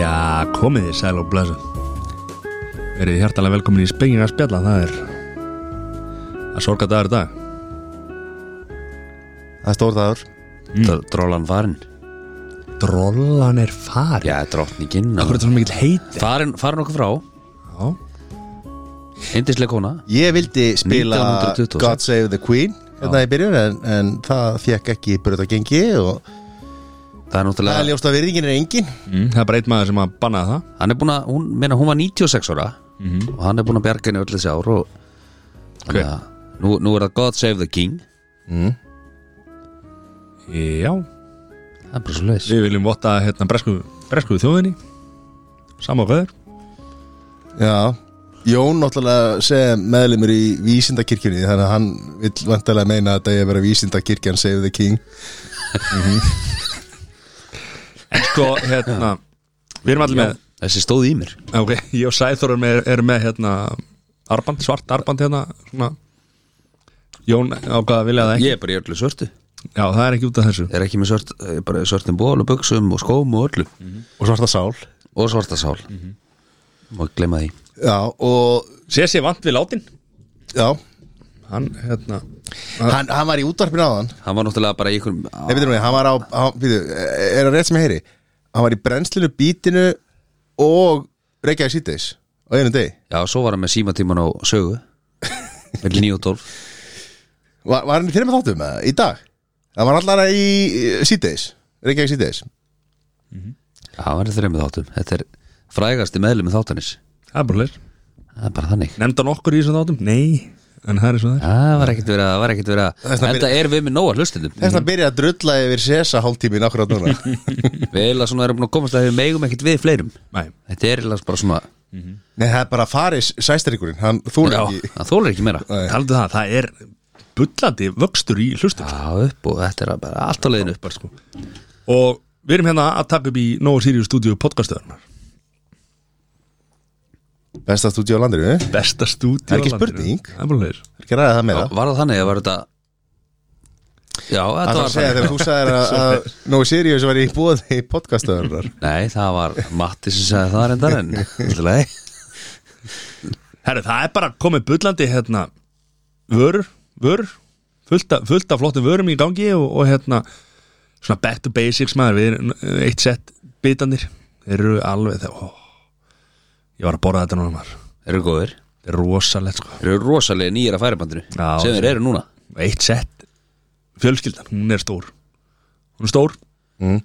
Já, komið þið sæl og blöðsum Verið hjartalega velkomin í spengina að spjalla Það er að sorga dagur í dag Það er stór dagur mm. Drólan farin Drollan er farin Já, drottningin Akkur er það svo mikill heiti farin, farin okkur frá Já, Indislega kona Ég vildi spila 1926. God Save the Queen Þetta í byrjun en, en það fekk ekki bröð að gengi og Það er það er náttúrulega ljóst að virðingin er engin mm, það er bara einn maður sem að banna það Hann er búin að, hún, meina, hún var 96 ára Mhm. Og hann er búin að bjarga henni öll þessi ár og, Hver? ja, nú, nú er það God Save the King Já, Það er bara svo leis við viljum votta hérna bresku, bresku þjóðinni Samá hvað er Já Jón náttúrulega sem meðlumur í vísindakirkjunni þannig að hann vill vantarlega meina að það er að vera vísindakirkjan Save the King En sko, hérna Við erum allir með Þessi stóð í mér Ok, ég og Sæþór er með, er með hérna arband, svart arband hérna svona Jón ákvað að vilja það ekki Ég er bara í öllu svörtu Já, það er ekki út af þessu Er ekki með svört, eh, bara í svörtum ból og buksum og skóm og öllu Mhm. og svarta sál Mhm. Og svarta sál Má ekki glemma því Já og Sér sér vant við látin já Hann, hérna hann, hann var í útvarpinu áðan Hann var náttúrulega bara í einhverjum Nei, veitum við, hann var á hann, býtu, Er það rétt sem ég heyri? Hann var í brennslinu, bítinu og Reykjavík síðdeis á einu degi Já, svo var hann með símatíman á sögu Vel 9 og 12 Var, var hann í fyrir með þáttum eða? Í dag? Það var allara í síðdeis Reykjavík síðdeis Já, hann var í þreymið þáttum Þetta er frægasti meðlum með þáttanis Það er bara leir Það er bara þannig Nefndan okkur í þessum þáttum? Nei En það er svo það er Það var ekkert verið að, var ekkert verið að Þessna En það er við með nóa hlustendum Þess að byrja að drulla yfir sesa hálftímin akkurat núna Við erum svona erum búin að komast að við megum ekkert við fleirum Nei, Þetta er eiginlega bara svona Nei, það er bara farið sæstringurinn Hann þúlir Já, ekki það þólar ekki meira Já, taldu það, það er bullandi vöxtur í hlustum upp og þetta er bara allt á leiðinu upp sko. Og við erum hérna að taka upp í Nóa Sirius stúdíu podcastöðunar Besta stúdíu á landinu Það Besta stúdíu Það er ekki á landinu. spurning. Það er bara leir er ekki að ræða það meira Var það þannig að var þetta Já, þetta Það var var að segja þegar þú sagðir að- að No Sirius var í bóði í podcastöðurnar Nei, það var Matti sem sagði það reyndar en allt í lagi. Herru, það er bara komið bullandi hérna vörur, vörur fullt af, fullt af flottum vörum í gangi og, og hérna svona back to basics maður, við erum eh, eitt sett bitandir, þeir eru alveg þegar, ó, ég var að borða þetta núna maður, Þeir eru góðir þetta er rosalegt sko Þeir eru rosalega nýjir að færibandinu Já, sem þeir sem- eru núna og eitt sett, fjölskyldan, hún er stór hún er stór mm.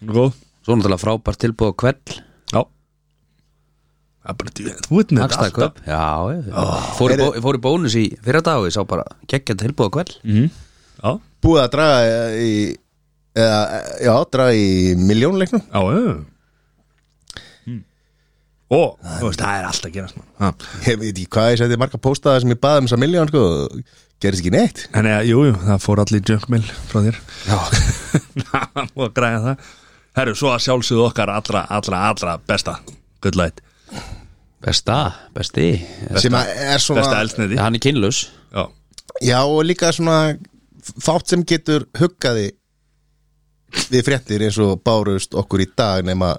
hún er góð, Svo náttúrulega frábært tilbúið á kveld já það er bara, þú- þú veit með þetta alltaf Hagstæðköp Já, ég fór, í bó, ég fór í bónus í fyrra dag og ég sá bara geggja tilbúið á kveld já, Búið að draga í eða, Já, draga í miljónleiknum já, já mm. og, þú veist, það er alltaf að gerast maður Ha. Ég veit ekki hvað ég seti marga póstaða sem ég baði um þessa miljón sko, gerist ekki neitt Þannig að, eh, jú, jú, það fór allir junkmail frá þér Já, Það múið að græða það Herru, svo að sjálfsögðu okkar allra, allra, allra besta Good light, besta, besti sem að er svona besta elsnedi Hann er kynlaus Já, Já, og líka svona fátt sem getur huggaði við fréttir eins og bárust okkur í dag nema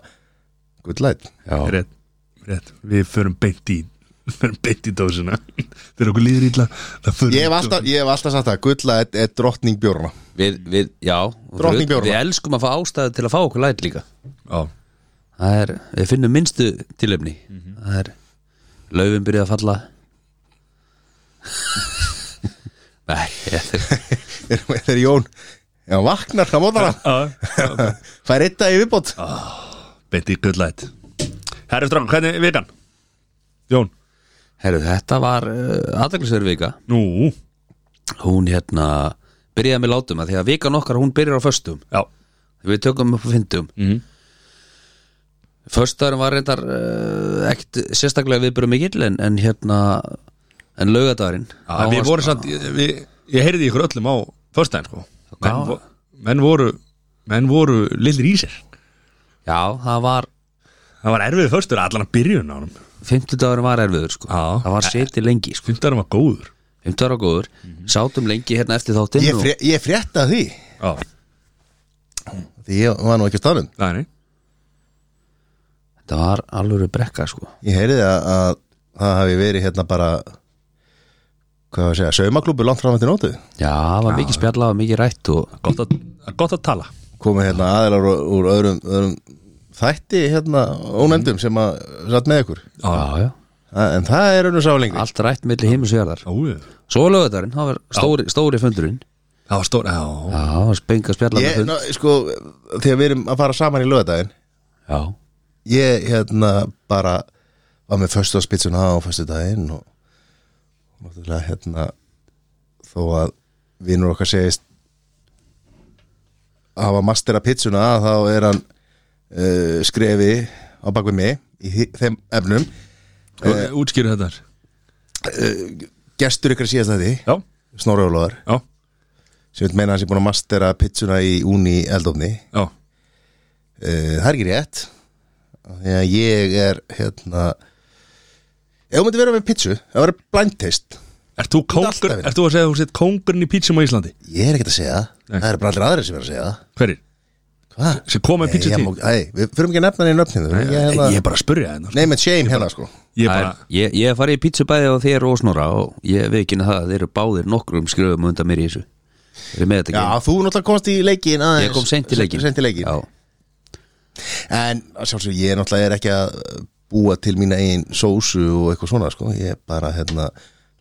good light Já, rétt, rétt Við förum beint í, við förum beint í dósina Þegar okkur líður illa það förum Ég í hef alltaf, ég hef alltaf sagt það, good light er drottning bjórna við, við, já og Drottning við, bjórana. við elskum að fá ástæðu til að fá okkur læt líka dósina. Já, Það er, við finnum minnstu tilöfni Það er, laufin byrjuð að falla Nei, þetta er Þegar Jón, já, vaknar á mótana já, fær eitt dag í viðbót beint í good light Herru, strákan, hvernig er vikan? Jón, Herru, þetta var uh, aðdeglisverð vika nú, Hún hérna byrjaði með látum að því að vikan okkar hún byrjar á föstum já við tökum upp á fyndum mm. Mhm. Föstaðurinn var reyndar uh, ekkit sérstaklega viðbyrðu mikill en, en hérna en laugadagurinn Já, við vorum samt, við, ég heyrði ykkur öllum á föstudaginn sko menn, Já. vo, menn voru menn voru lillir í sér Já, það var það var erfiðið förstur allan að byrjun á hann Fimmtudagurinn var erfiður sko Já. Það var seti lengi sko Fyndarum var góður Fimmtudagur var góður Mhm. Sátum lengi hérna eftir þáttinn ég, og- fré, ég frétta því Já, Því ég var nú ekki á staðnum það er neitt Þetta var alvöru brekka sko Ég heyriði að, að það hafi verið hérna bara Hvað var að segja, saumaklúbu langt fram eftir nótu Já, það var mikið spjallað og mikið rætt og gott, að- gott að tala Komið hérna aðilar úr, úr öðrum, öðrum þætti hérna ónefndum sem að satt með ykkur Já, já, Að- En það er önnur sá lengri allt rætt milli heimis og jarðar Óið Svo lögðarinn, það var stóri, stóri fundurinn Það var stór, já Já, það var spenga spjallað Ég, með fund ná, sko, þegar við erum að fara saman í lögadaginn Já, ég hérna bara var með föstudagspitsuna á föstudaginn og og náttúrulega hérna þó að vinnur okkar segist hafa mastera pitsuna þá er hann uh, skrefi á bakvið mig í þi- þeim efnum e Útskýru þetta þar. gestur ykkur síðast að því, Já, Snorjólaður já, sem vil meina að hann sé búin að mastera pitsuna í úni eldofni já uh, það er ekki rétt Af því að ég er hérna ef þú myndi vera með pitsu ef það var blind taste Ert þú alltaf kóngur, verið. ert þú að segja að þú sett kóngurinn í pítsum á Íslandi? Ég er ekkert að segja það. Nei. Það eru bara allir aðrir sem er að segja það. Hverir? Hvað? Sem koma með pítsu Nei, ég til? má- Nei, við fyrir ekki að nefna henni nöfninu Ég er Ég er hérna bara að spurja þetta Name and shame hérna sko Ég er Það bara, er- ég, ég farið í pítsu bæði á þér og snora og ég veikina það að þeir eru báðir nokkrum skröfum undan mér í þessu Þeir eru með þetta Já, þú náttúrulega komst í leikin aðeins ekki Ég kom seint í leikin Seint í leikin Já, En sjálfsög, ég náttúrulega er ekki að búa til mína einn sósu og eitthvað svona sko Ég er bara hérna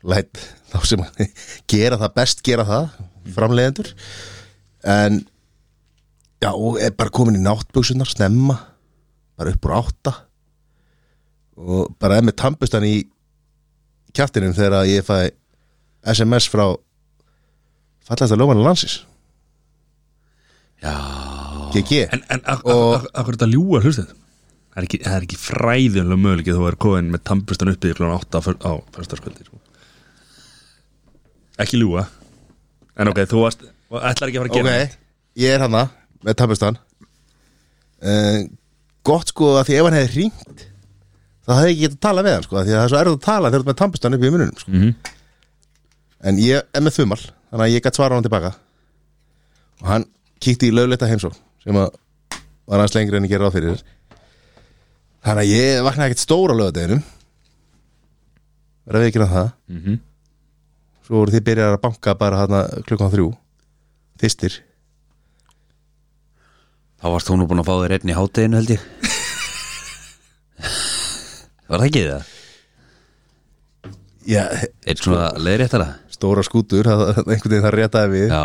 Læt þá sem gera það best gera það Framleiðendur En Já, og er bara komin í náttböksunar Snemma Bara upp úr átta Og bara er með tampustan í Kjattinum þegar ég fæ SMS frá Fallasta lómanu landsins Já GG en, en ak- ak- ak- akkur þetta ljúa hlustið það er ekki, það er ekki fræðinlega möguleik þú er kóðin með tampustan uppið kl. 8 á föst- á fyrstarskvöldi sko. ekki ljúa en ok, þú varst, ætlar ekki að fara að Ok, gera neitt. ég er hana með tapistan uh, Gott sko að því ef hann hefði hringt þá hefði ég ekki getað að tala við hann sko af því að það er svo erfið að tala þegar þú ert með tapistan upp í mununum sko. En ég er með þumal þannig að ég gætt svara hann tilbaka og hann kíkti í lögleita heimsó sem að var hans lengri en ég gera ráð fyrir Þannig að ég vaknaði ekkert stóra lögadeginum verða við ekki að það svo voru þið byrjar að banka bara hana klukkan þrjú þistir þá varst þú nú búin að fá þér einn í hátteginu held ég Var það ekki það? Já, Eitt svona leiðréttara stóra skútur, það, það- einhvern veginn það réttaði við Já,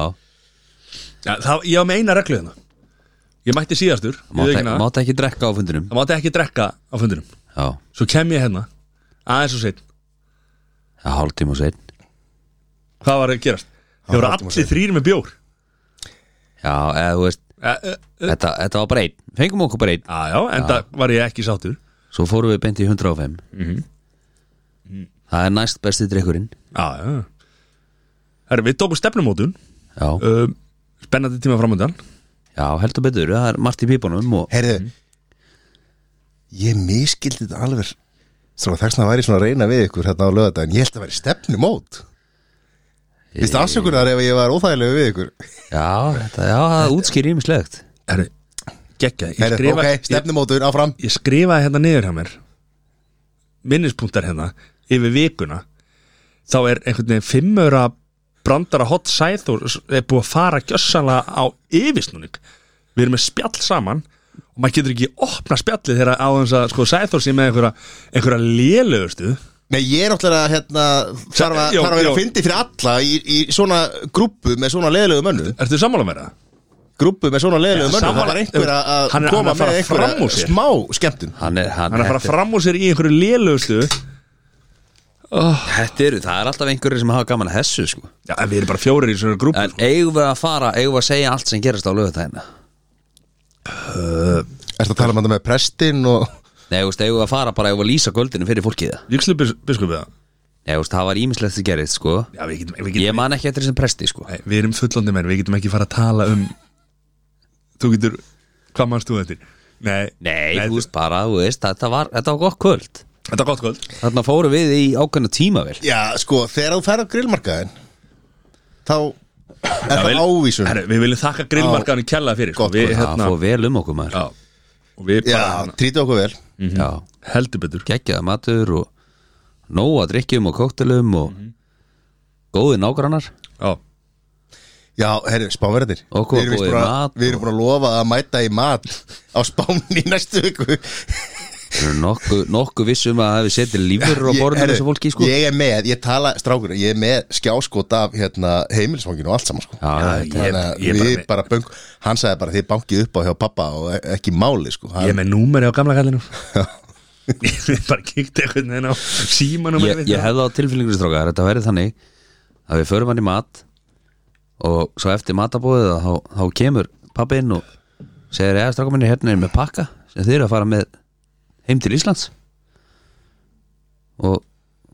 ja, það, ég var með eina reglu þarna ég mætti síðastur ég mátt, viðurkenni það. mátt ekki drekka á fundinum það mátti ekki drekka á fundinum Já, svo kem ég hérna, aðeins og seitt já hálftíma og sveinn hvað var að gerast? það voru hálftíma allir þrýr með bjór Já, eða þú veist, Eh, eh, eh, þetta, þetta var bara einn Fengum okkur bara einn já, já, en það var ég ekki sáttur Svo fórum við beint í 105 Það er næst besti drikkurinn já, já Herra, við tókum stefnumótun Já, um, spennandi tíma framöndan já, heldur betur, það er margt í pípunum og Heyrðu, Mhm. ég miskildi þetta alveg Svo þess að væri svona að reyna við ykkur hérna á lögadaginn Ég held að það væri stefnumót Vistu afsökunar ef ég var óþægilegu við ykkur Já, þetta, já, það útskýr ímislegt Herri, geggja ég, Heyrðu, skrifa, ok, stefnumótur áfram ég, ég skrifaði hérna niður hjá mér minnispunktar hérna yfir vikuna þá er einhvern veginn fimmöra brandara hot sæð og er búið að fara gjössanlega á yfirsnúning við erum með spjall saman og maður getur ekki opna spjallið þegar á þess að sko Sæþór sé með einhverja, einhverja lélegustu Nei, ég er náttúrulega hérna Þarf að, Jó, þarf að vera jó. að fyndi fyrir alla í, í svona grúppu með svona leðilegu mönnu Ertu sammála með það? Grúppu með svona leðilegu Já, mönnu Það sammála- var einhver að Hann að er- hann er koma að fara með fram úr einhverja sér. smá skemmtun Hann er, hann, Hann er að fara þetta, fram úr sér í einhverju lélegustu þetta eru, það er alltaf einhverjir sem hafa gaman að þessu sko. Já, en við erum bara fjórir í svona grúpu sko. En eigum við að fara, eigum við að segja allt sem gerast á lögutæðina Ertu að tala um þetta með prestinn og Nei, þú veist, eigum við að fara bara, eigum við að lýsa göldinu fyrir fólkið það Víkslu biskupið það? Nei, þú veist, það var ímislegt sem gerist, sko Já, við getum, við Ég getum man ekki eftir þessum presti, sko Nei, við erum fullandi menn, við getum ekki fara að tala um Þú getur, hvað mannst þú eftir? Nei, Nei, þú veist bara, þú veist, þetta var, þetta var gott kvöld Þetta er gott kvöld Þarna fórum við í ákveðna tímavel Já, sko, þegar þú ferð á grillmarkaðin þá er það ávísun Herru, Við viljum þakka grillmarkaðinu kjalla fyrir sko. Gott við, Það hérna, fór vel um okkur maður já, Mhm. Og við Já, bara hérna, trýta okkur vel Já, heldur betur geggjaða matur og nóg að drikkjum og koktelum og góði nágrannar Já, Já, herru, spánverðir Okkur Við erum búið víst búin að- mat og- Við erum búin að lofa að mæta í mat á spáni í næstu viku Þeir eru nokkuð nokku vissum að það hefði setið lífur á Ég- borðinu herru, þessu fólki sko Ég er með, ég tala, strákur, ég er með skjáskot af hérna, heimilisvanginu og allt saman sko. Já, ég- þetta- Þannig að ég við bara- bara böng Hann sagði bara þið bankið upp á hjá pappa og e- ekki máli sko. ég Hann, er með númeri á gamla kallinu Ég bara kíkti einhvern veginn á símanúmeri ég, ég hefði á tilfélningur strókar þetta verið þannig að við förum hann í mat og svo eftir matabóðið þá, þá kemur pappinn og segir eða strákar minni hérna er með pakka sem þið eru að fara með heim til Íslands og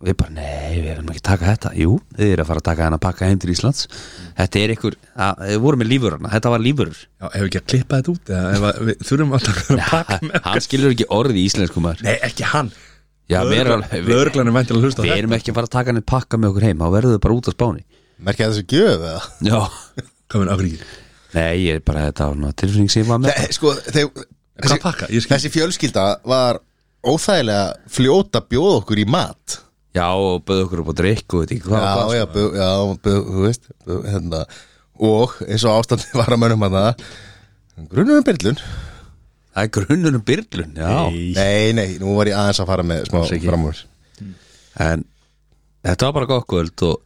við bara nei við erum ekki að taka þetta jú þið eru að fara að taka hennar pakka heim til Íslands þetta er ykkur að, við vorum með lífurarna þetta var lífurur Já, hefur ekki að klippa þetta út eða, ef að, við þurfum að taka að pakka með hann skilur ekki orðið í íslensku maður Nei, ekki hann já, við erum alveg- við- Lörglan er væntilega að hlusta á við þetta. erum ekki að fara að taka henni pakka með okkur heim þá verður þau bara út á spáni merkja þessu gjöf eða? já Hvað meina, af hverju ekki? Nei, ég er bara þetta á tilfinning sem ég var með Nei, sko, þegar Hvað pakka? Ég skil Þessi fjölskylda var óþægilega fljóta að bjóða okkur í mat Já, og bauð okkur upp á drikk og veit ekki hvað og Já, hvað. já, bjó, já, bjó, þú veist bjó, hérna. Og eins og ástandi var að mönnum að það Grunum um byrlun Það er grunnunum byrlun, já Nei. Nei, nei, nú var ég aðeins að fara með smá Afsakið. framúr En þetta var bara gott kvöld og,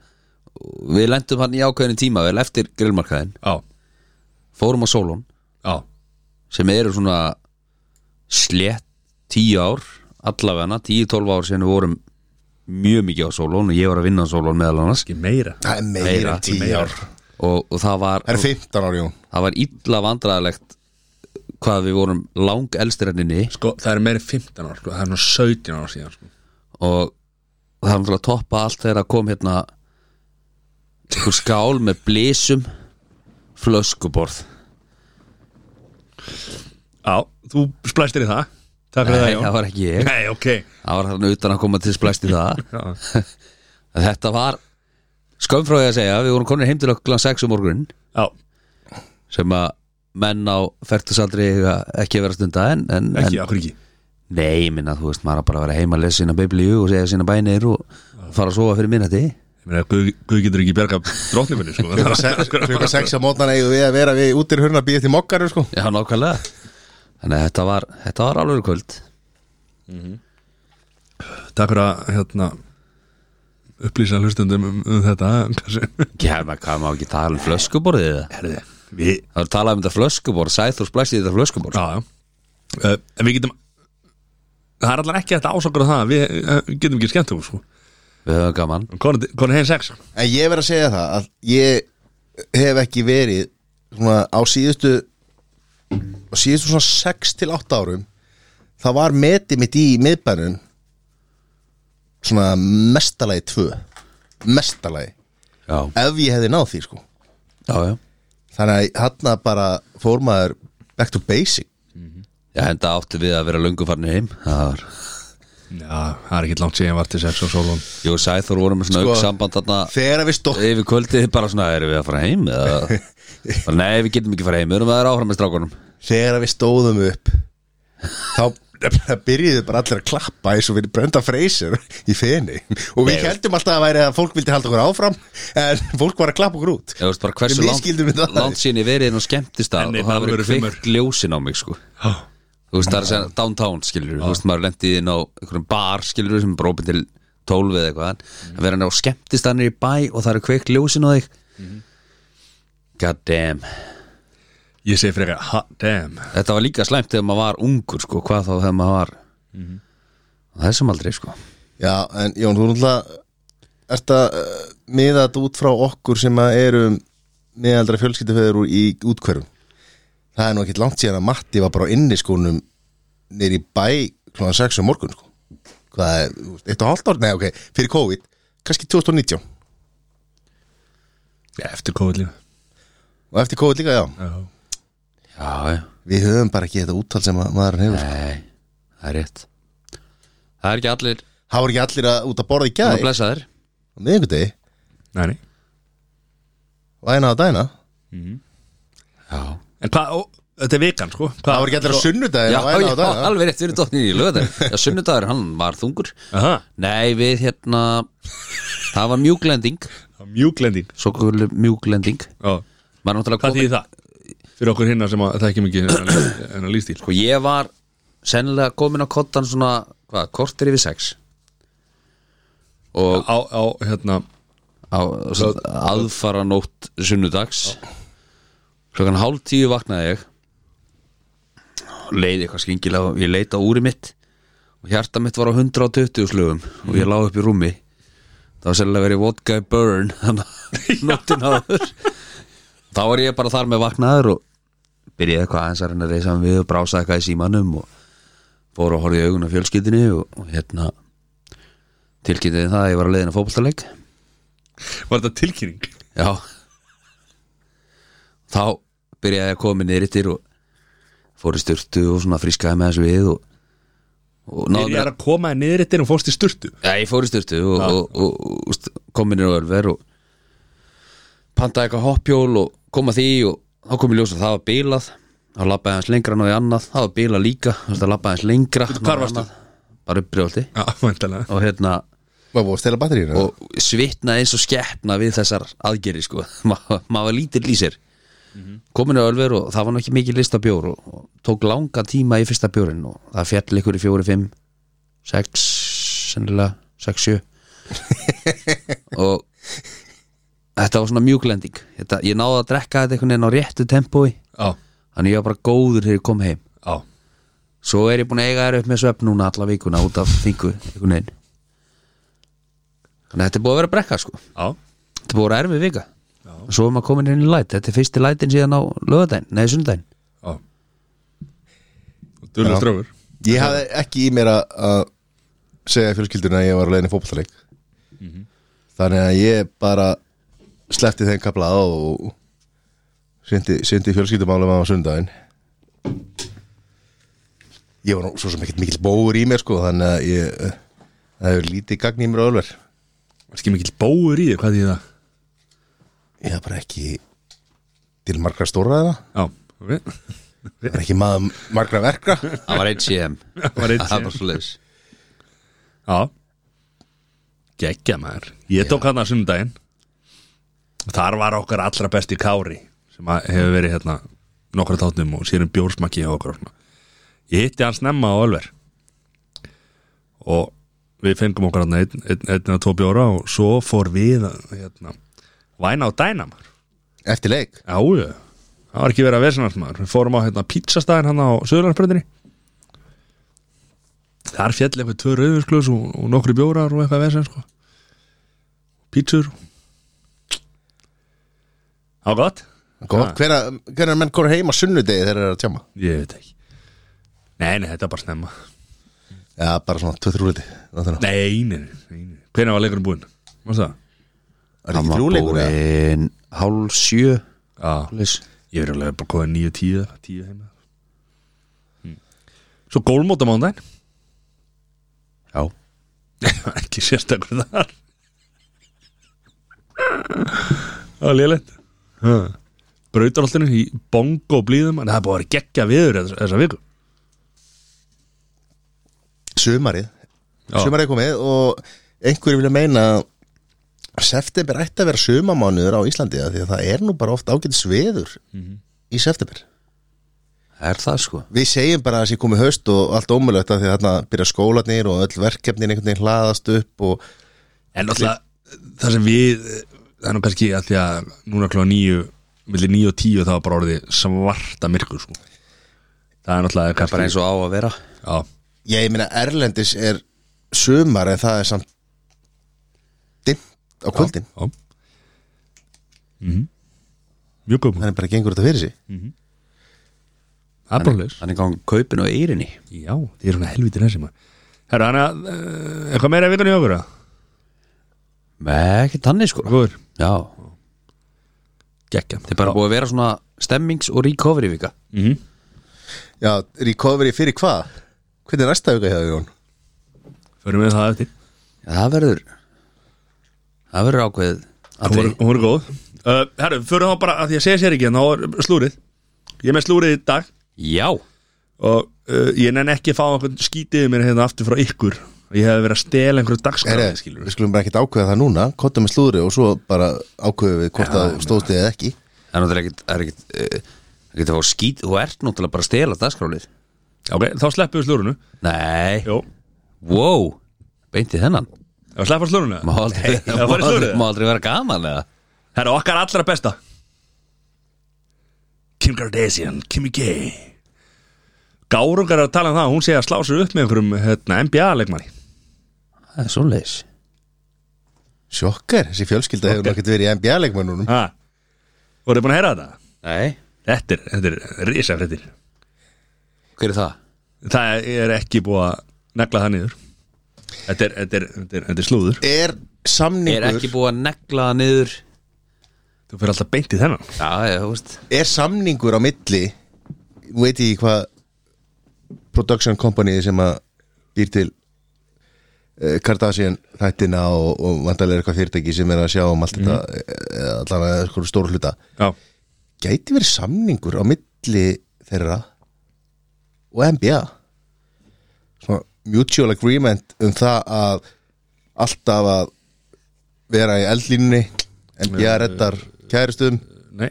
og við lendum hann í ákveðinu tíma vel eftir grillmarkaðin Já, Fórum á Solon já, sem eru svona slett tíu ár allavegna, tíu-tólf ár sem við vorum mjög mikið á Solon og ég var að vinna á Solon meðal annars ekki meira Það er meira Meira, en tíu meira. ár og, og það var Það er 15 ár, Jón það var illa vandræðalegt hvað við vorum lang elstirenninni Sko, það er meira en 15 ár, sko, það er nú 17 ár síðan sko. og það var náttúrulega að toppa allt þegar að kom hérna einhver skál með blísum flöskuborð Já, þú splæstir í það Takk fyrir það, Nei, Jón það var ekki ég Nei, ok það var hann utan að koma til splæst í það Já, En þetta var skömmfráði að segja við vorum komin heim til okkur 6 um morgun já sem að menn á færtusaldri eiga ekki að vera að stunda en, en, ekki, en af hverju ekki nei, ég minna, þú veist, maður á bara að vera heima að lesa sína biblíu og segja sína bænir og fara að sofa fyrir minnati Ég meina, Guð, Guð getur ekki bjarga drottnifinni, sko Klukka 6 á mótnana eigum við að vera við útir hurna að býja til mokkarum, sko Já, nákvæmlega Þannig að þetta var, þetta var alveg kvöld Takk fyrir að, hérna upplýsa hlustundum um, um þetta Kansi Já, maður hvað maður ekki tala um flöskuborðið eða? Herði, við Það er talað um þetta flöskuborð, Sæþór splæsti þetta flöskuborð Já, já uh, En við getum Það er allar ekki þetta ásakur að það að Við uh, getum ekki skemmt um, sko Við höfum gaman Kona heginn sex En ég verð að segja það að ég hef ekki verið svona á síðustu á síðustu svona 6 til 8 árum það var metið mitt í miðbænum svona mestalagi 2 mestalagi Já, ef ég hefði náð því sko já, já, þannig að hann bara fór maður back to basic já En það áttu við að vera löngu farnir heim Það var Já, það er ekki langt síðan ég var til sex og sólun Jú, Sæþór vorum með svona Sko- sko, samband þarna þegar við stótt Yfir kvöldið bara svona, erum við að fara heim? Eða... Bara, Nei, við getum ekki fara heim, við erum að vera áfram með strákunum þegar við stóðum upp þá nefnilega byrjuðu bara allir að klappa eins og við brönda freysir í feni og við heldum alltaf að væri að fólk vildi halda okkur áfram en fólk var að klappa okkur út Ég veist bara hversu Við misskildum langt, þetta alveg. langt síðan ég verið inn á En skemmtistað nei, og það það verið voru fimmur. kveikt ljósin á mig sko Þú veist, það er að segja downtown skilur Þú veist, maður lendið inn á einhverjum bar skilur sem er bara opið til 12 eða eitthvað en að vera hann á skemmtistaðanir í bæ og það er kveikt ljósin á þig God damn Ég segi frekar, hot damn Þetta var líka slæmt þegar maður var ungur sko hvað þá þegar maður var Mhm. á þessum aldrei sko já en Jón þú náttúrulega ert að uh, miða þetta út frá okkur sem að erum meðaldra fjölskyldufeður úr í útkverfum það er nú ekkit langt síðan að Matti var bara á inniskónum nýr í bæ kl. 6 um morgun sko. hvað er, þú veist, eitt og hálft ár, nei ok fyrir COVID, kannski 2019 Eftir COVID líka og eftir COVID líka, já Já, já, já, Við höfum bara ekki þetta úttal sem að maðurinn hefur sko. nei, það er rétt Það er ekki allir Það voru ekki allir að, út að borða í að gæði blessa þér á miðvikudegi, Nei, nei. væna á dæna Já, En hvað, ó, þetta er vikan sko hvað, Það voru ekki allir að sunnudegi já, á væna já, á dæna alveg rétt, við erum dottnið í lögðar Já, sunnudagur, hann var þungur Aha, Nei, við hérna Það var mjúglending Mjúklending Svo kvölu mjúglending Já. Var náttúrulega Hvað komið þýðir það? Fyrir okkur hinna sem að það ekki mikið en að lístíl Sko, ég var sennilega komin á kottan svona Hvað, kortir yfir sex Og á, á, hérna, á, aðfara nótt sunnudags klokkan hálf tíu vaknaði ég leiði eitthvað skingilega ég leita á úri mitt og hjarta mitt var á 120 slugum og ég lá upp í rúmi það var sérlega verið vodka burn þannig að nóttin áður þá var ég bara þar með vaknaður og byrjaði eitthvað aðeins að reyna að reysa við og brása eitthvað í símanum og fór og horfði í augun á fjölskyldinni og, og hérna tilkynntiði það að ég var að leiðin að fótboltaleik var þetta tilkynning? Já Þá byrjaði að koma niður yttir og fór í styrtu og svona frískaði með þessu við og, og náði Ég mér er að koma þér niður eftir og fórst í sturtu Já, ég fór í styrtu og, Já. og, og, og st- kom minni á ölver og pantaði eitthvað hoppjól og kom að því og þá kom ég ljós að það var bílað þá labbaði hans lengra náði annað það var bílað líka, þú veist að labbaði hans lengra Bíddu, náði hvar varstu? annað. Bara uppbrjólti Já, væntanlega og hérna Var búið að stela batteríinu og svitnaði eins og skeppna við þessar aðgerði sko Ma- maður var lítill í sér komin á Ölver og það var nú ekki mikið lista bjór og, og tók langa tíma í fyrsta bjórin og það fjall ykkur í fjóri, fimm sex, sennilega sex, sjö og þetta var svona mjúklending þetta, ég náði að drekka þetta einhvern veginn á réttu tempói Já, þannig ég var bara góður þegar ég kom heim já svo er ég búin að eiga þér upp með svefn núna alla vikuna út af þingu einhvern veginn þannig að þetta er búið að vera að brekka sko Já, Þetta er búið að erfið vika og Svo er maður komin inn í læt Þetta er fyrsti lætin síðan á lögadaginn Nei, sundaginn já Dullu strókur Ég hafði ekki í mér að- að segja fjölskyldunni að ég var að leiðin í fótballtaleik Mhm. Þannig að ég bara sleppti þeim kapla á og syndi, syndi fjölskyldumálum á sundaginn Ég var nú svo sem ekkert mikill bóður í mér sko þannig að ég eh, það hefur lítið gagn í mér á ölver Var ekki mikill bóur í þér, hvað þýðir það? Ég hafði bara ekki til margra stóra eða Já, ok Það var ekki maður margra verka Það var HCM Það var eitt Það var svo leiðis Já Gekkja maður Ég tók hann að sundaginn Þar var okkar allra besti Kári sem að hefur verið hérna nokkra tátum og síðan bjórsmakki hjá okkur og svona. Ég hitti hann snemma á Ölver og við fengum okkur hann einn ein, ein, að tvo bjóra og svo fór við að, hérna, væna á dæna maður Eftir leik Já, já. það var ekki verið að vesenast maður Við fórum á hérna, pizzastæðin hann á Söðurlandsbröndinni Þar fjall eitthvað tvö rauðursklaus og, og nokkri bjórar og eitthvað vesen sko. Pítsur Á gott? Gott, hvernig hver menn konur heim á sunnudegi þegar þeir eru að tjáma? Ég veit ekki Nei, nei, þetta er bara snemma Já, bara svona 2-3 liti Það Nei, nei, nei, nei, nei. Hvernig var leikurinn búinn? Varst það? er ekki þrjúleikur eða? búin Hálf sjö Já, Leis. ég er alveg bara koðið nýju tíu Tíu heima hm. Svo gólmóta mándaginn Já ekki sérstakur þar það var lélegt brautaroltinu í bongo blíðum en það er búið að vera geggja viður þessa, þessa viku Sumarið Já. Sumarið er komið og einhverju vilja meina að September ætti að vera sumamánuður á Íslandi af því að það er nú bara oft ágætis veður í september Það er það sko Við segjum bara að þessi komið haust og allt ómulegt af því að þarna byrja skólanir og öll verkefnin einhvern veginn hlaðast upp og en alltaf það sem við það er nú kannski að því að núna klá nýju millir nýju og tíu þá er bara orðið svarta myrkur sko það er náttúrulega Bara eins kannski og á að vera já, Já, ég meina Erlendis er sumar en það er samt dimmt á kvöldin já. Mm mjög góð punktur. Þannig bara gengur þetta fyrir sig það er bara leis Þannig gangi kaupin og eyrinni já, þið er svona helvítið þessi maður herra, hann að eh, eitthvað meira í vikunni hjá okkur að Með ekki tannig sko Góður Já geggja Þeir bara búið að vera svona stemmings og recovery vika Mhm. Já, recovery fyrir hvað? Hvernig er næsta vika hjá þér, Jón? Förum við það eftir Já, Það verður Það verður ákveðið Hún voru, atriði. hún voru góð uh, Herru, förum þá bara að því að segja sér ekki en þá er slúrið Ég er með slúrið í dag Já og uh, ég nenn ekki að fá einhvern skítið mér hérna aftur frá ykkur Ég hef verið að stela einhverju Herre, dagskráði skilur við skulum bara ekkert ákveða það núna Kottum með slúðri og svo bara ákveðum við hvort það stóðst eða ekki Það er náttúrulega ekkit Það er ekkit eh, Það getur að fá skít Þú ert náttúrulega bara að stela dagskrálið Ok, þá sleppum við slúrinu Nei Jó, Wow Beinti þennan ef við sleppum slúrinu Má aldrei, það var í slúðrið. má aldrei vera gaman eða Herra, okkar allra besta Kim Kardashian, Kimmy K Gárungar er að tala um það Hún segja að slá sér upp með einhverjum hérna, NBA-leikmanni Það er svoleiðis Sjokkar, þessi fjölskylda hefur nokkert verið í NBA-leikmannunum Ha, voruð þið búin að heyra þetta? Nei Þetta er, þetta er risafréttir Hver er það? Það er ekki búið að negla það niður Þetta er, þetta er, þetta er, þetta er slúður Er Er samningur, ekki búið að negla það niður Þú fyrir alltaf beint í þennan Já, ég, þú veist er samningur á milli Nú veit ég ekki hvað production company sem að býr til eh, Kardashian þættina og, og vandalega eitthvað fyrirtæki sem er að sjá um allt þetta eh, eða allan að eitthvað stóru hluta Já, gæti verið samningur á milli þeirra og NBA svona mutual agreement um það að alltaf að vera í eldlínunni NBA reddar kæristum nei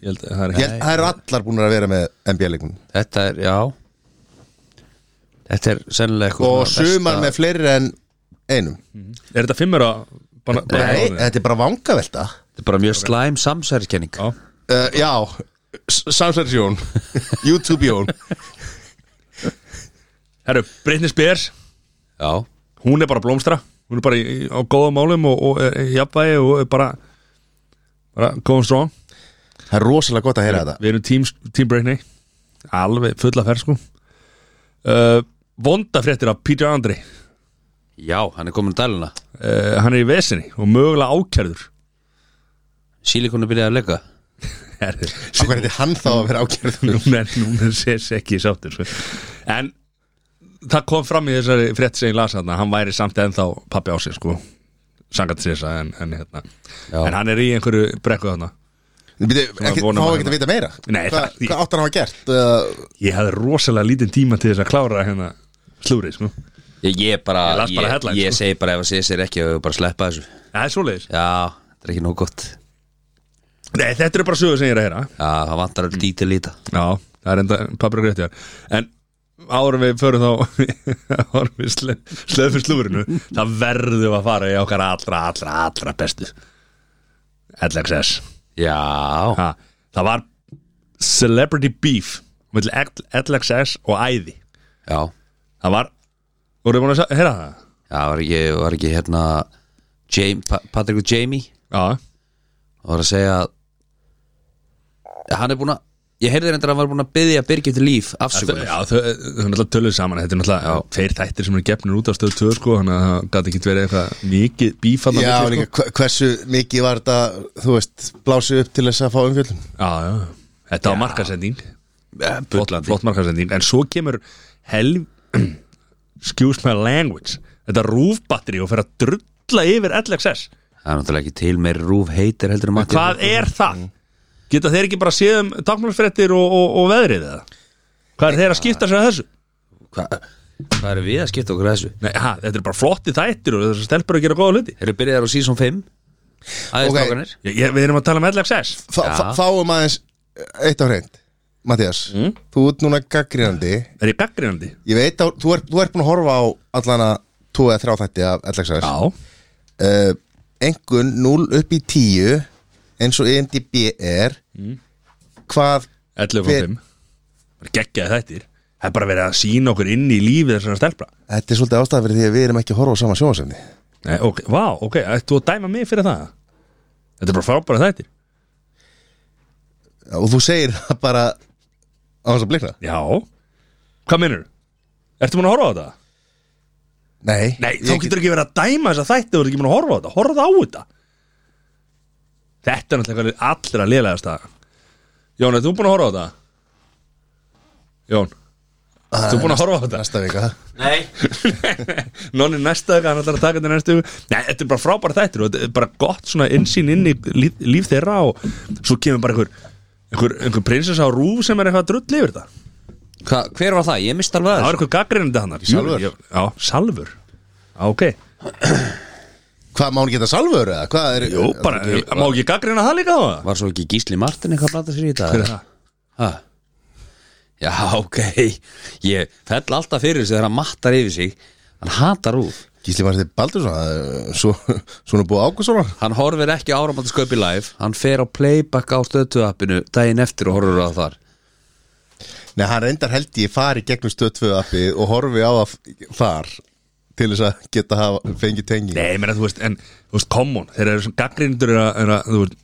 Ég held að það er Ég- það eru allar búin að vera með NBA leikun Þetta er, já Þetta er sennilega eitthvað og svona sumar versta- með fleiri en einum Er þetta fimmur að bara, bara Nei, þetta er bara vangavelta Þetta er bara mjög slæm samsæriskenning Já, uh, Já, samsverðsjón YouTube-jón herru, Britney Spears Já hún er bara að blómstra hún er bara í, í- á góða málum og, og er í jafnvægi og er bara bara going strong Það er rosalega gott að heyra þetta við erum team, team Britney alveg fulla ferð sko uh, vondafréttir af Peter Andre Já, hann er komin að dæluna uh, hann er í vesinni og mögulega ákjærður Sílikonu byrjaði að leika herru, Hvað er þetta hann þá að vera ákjörðum núna er, núna er sér ekki sáttur sko. en það kom fram í þessari frétt sem ég las hann hann væri samt ennþá pappi á sig sko sangat sér þess að en, en, hérna. Já. en hann er í einhverju brekku þarna Býtu, ekki, vonum þá að ekki að hérna- vita meira Nei, Hva, það- Hvað átt hann að hafa gert? Uh, ég hafði rosalega lítinn tíma til þess að klára hérna slúrið, sko. Ég, ég bara, Ég las bara headline, ég, ég sko. segi bara ef að sé sér ekki og bara sleppa þessu Það er svoleiðis. Já, þetta er ekki nóg gott Nei, þetta eru bara sögur sem ég er að heyra. Já, það vantar öll dítil í þetta Já, það er enda pappir og gréttjar. En árum við förum þá, árum við slöðum fyrir slúrinu, það verðum að fara í okkar allra, allra, allra bestu. LXS. Já, Ha, það var Celebrity Beef með LXS og æði. já Það var, voruðu búin að sjá- heyra það? Já, var ekki, var ekki hérna James, pa Patrick og Jamie Já, og var að segja að hann er búin að ég heyrði reyndar að hann var búin að byggja Birgit Líf afsökunar Já, þau þau er náttúrulega töluð saman Þetta er náttúrulega tveir þættir sem eru gefnir út á stöðu tvö sko, þannig að það gæti ekki verið eitthvað mikið bífall Eh, já, líka, hve- hversu mikið var þetta, þú veist, blásið upp til þess að fá umfjöldum? já, já, þetta var markasending Eh, flott, bullandi. flott markasending, en svo kemur hel excuse my language þetta rúfbatteri og fer að drulla yfir LXS, Það er náttúrulega ekki til meiri rúf heitir heldur en Matti hvað er Mm. það? Geta þeir ekki bara séð um takmálsfrettir og, og, og veðrið eða? Hvað er þeir að skipta sér að þessu? Hva, Hvað er við að skipta okkur að þessu? Nei, ha, þetta er bara flotti þættir og þessar stelpur eru að gera góða hluti Eru byrjaðar á season 5? Æðist Ok. okkarnir? ég, ég, Við erum að tala um LXS Fá, Já. fá- Fáum aðeins eitt á hreint Mattias, þú ert núna gaggrínandi Er ég gaggrinandi? Ég veit að þú ert, þú ert búin að horfa á allana 2 eða 3 þætti af LXS Já uh, Engun 0 upp í 10 eins og E IMDB er Mm. Hvað 11.5 Gekkjaði þættir Það er bara verið að sína okkur inn í lífið þessara stelpra Þetta er svolítið ástæða fyrir því að við erum ekki að horfa á sama sjónasefni Nei, ok, vá, ok, ættu að dæma mig fyrir það Þetta er bara frábæra þættir og þú segir það bara á þess að blikna Já Hvað minnur? Ertu múin að horfa á þetta? Nei, Nei, þá getur ekki verið að dæma þessa þætti og þú ert ekki múin að horfa á þetta Horfa á þetta Þetta er náttúrulega eitthvað allra lélegast að Jón, er þú búin að horfa á þetta? Jón Þú búin að horfa á þetta? Næsta vika Nei, Nonni næsta dag, hann ætlar að taka þetta næstu Nei, þetta er bara frábæra þættir og þetta er bara gott svona innsýn inn í líf, líf þeirra og svo kemur bara einhver einhver, einhver prinsess á rúf sem er eitthvað að drulli yfir þetta Hva, hver var það? Ég misti alveg Það að var þessu eitthvað gaggrinandi hann Salvör. Já, salvur Já, ok Hvað, má hún geta salvöru eða? Hvað er Jú, bara, má ekki gaggrina það líka á það? Var svo ekki Gísli Martin eitthvað að blata sér í dag? Hver er það? Ha? Já, ok Ég fell alltaf fyrir þessu þegar hann mattar yfir sig Hann hatar úr Gísli Martin Baldursson það er Svo, svona búið ákvæmssonar Hann horfir ekki áramáttasköpi live Hann fer á playback á stöðtuappinu daginn eftir og horfir á það þar Nei, hann reyndar held ég fari gegnum stöð 2 appi og horfi á að far til þess að geta hafa, fengið tengi Nei, menn að þú veist, en þú veist, common Þeir eru svona gaggrindur er að, er að, þú veist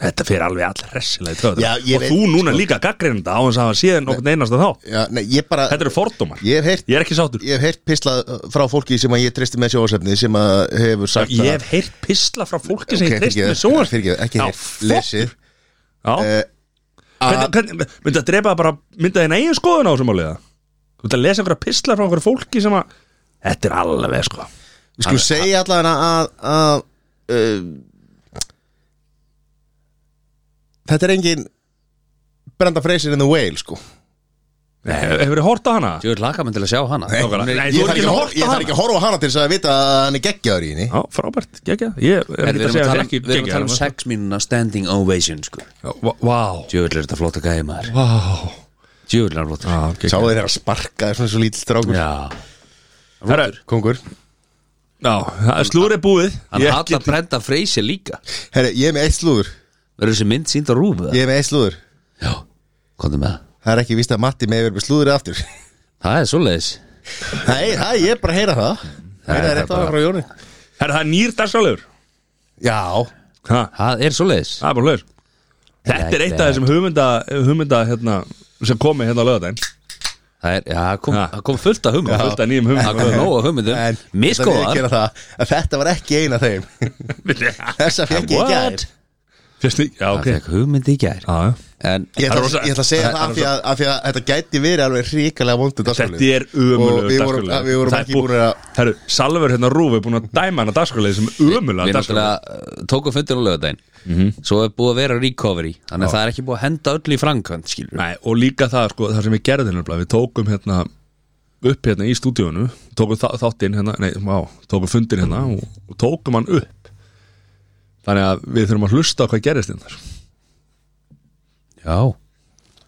Þetta fyrir alveg allir hressilega í Já, töður ég Og veit, þú núna sko. líka gaggrinda á hans að hafa séð nokkurn einast að þá Já, nei, ég bara Þetta eru fordómar Ég hef heyrt Ég er ekki sáttur Ég hef heyrt pislað uh, frá fólki sem að ég treysti með sjóðsefni sem að hefur sagt Ég hef heyrt pisla frá fólki sem ég treyst með svona sjónvarp Fyrir ekki Já, heyrt, fuck. lesið Já, Eh, hvernig, hvernig, myndi að drepa bara myndi að þeim eigin skoðun á þessum áliða Þú ert að lesa einhverja pisla frá einhverja fólki sem að Þetta er alveg sko Við skulum segja allavega að, að, að uh, Þetta er engin Brenda Fraser in the Whale sko Hefur þið hort á hana? Ég vil laka mig til að sjá hana Nei. Nákvæmlega. þú ert Ég- Ég þarf ekki að ekki að horfa hor- ég á þarf ekki að horfa á hana til þess að vita að hann er geggjaður í henni Já, frábært, geggja Ég er ekki En Við að erum að segja tala þetta um, ekki við erum að tala um geggjað, sex mínuna standing ovation sko. sko. Já, vá- Vá Djöfull er þetta flotta gæði maður Vá Djöfull er hann flotta Sá þeir er að sparka svona svo lítill strákur Já Herra, Kongur já, það er slúri búið Hann Ég- hatar Brenda Freysi líka Herri, ég er með eitt slúður Verður þessi mynd sínd á rúfu? Ég er með eitt slúður Já, komðu með það Það er ekki víst að Matti með verið með slúður aftur Það er svoleiðis Nei, það er ég er bara að heyra það Heyra það það er rétt á það bara- frá Jóni Herra, það er nýr dagsrálegur Já, Ha, Það er svoleiðis Það er bara hlur Þetta er eitt af þessum hugmynda, hugmynda hérna, sem komi hérna á lögadaginn Það er, já, það kom, Já. það kom fullt af hugmyndum Fullt af nýjum Það kom hugmyndum nóg af hugmyndum en þetta, Miskoðar viðurkenna það, að þetta var ekki eina þeim Þessa fekk ég ekki What? að Fyrst í, já Það ok okay. fekk hugmynd í gær Já, já. En Ég Það er ætla, rosa- ég ætla að segja það er það af því að, af því að þetta gæti verið alveg ríkalega vondu Þetta er Og við vorum- ömulega við vorum ekki búin að Herru, Salver hérna Rúf er búin að dæma hana dagskrálið sem við ömulega dagskrálið náttúrulega uh, tókum fundur á lögadaginn Mhm. Svo er búið að vera recovery Þannig að það er ekki búið að henda öll í framkvæmt skilur Nei, og líka það, sko, það sem við gerðum nefnilega, við tókum hérna upp hérna í stúdíónu, tókum þa- þáttinn hérna, nei, má, tókum fundin hérna og, og tókum hann upp þannig að við þurfum að hlusta á hvað gerðist hérna Já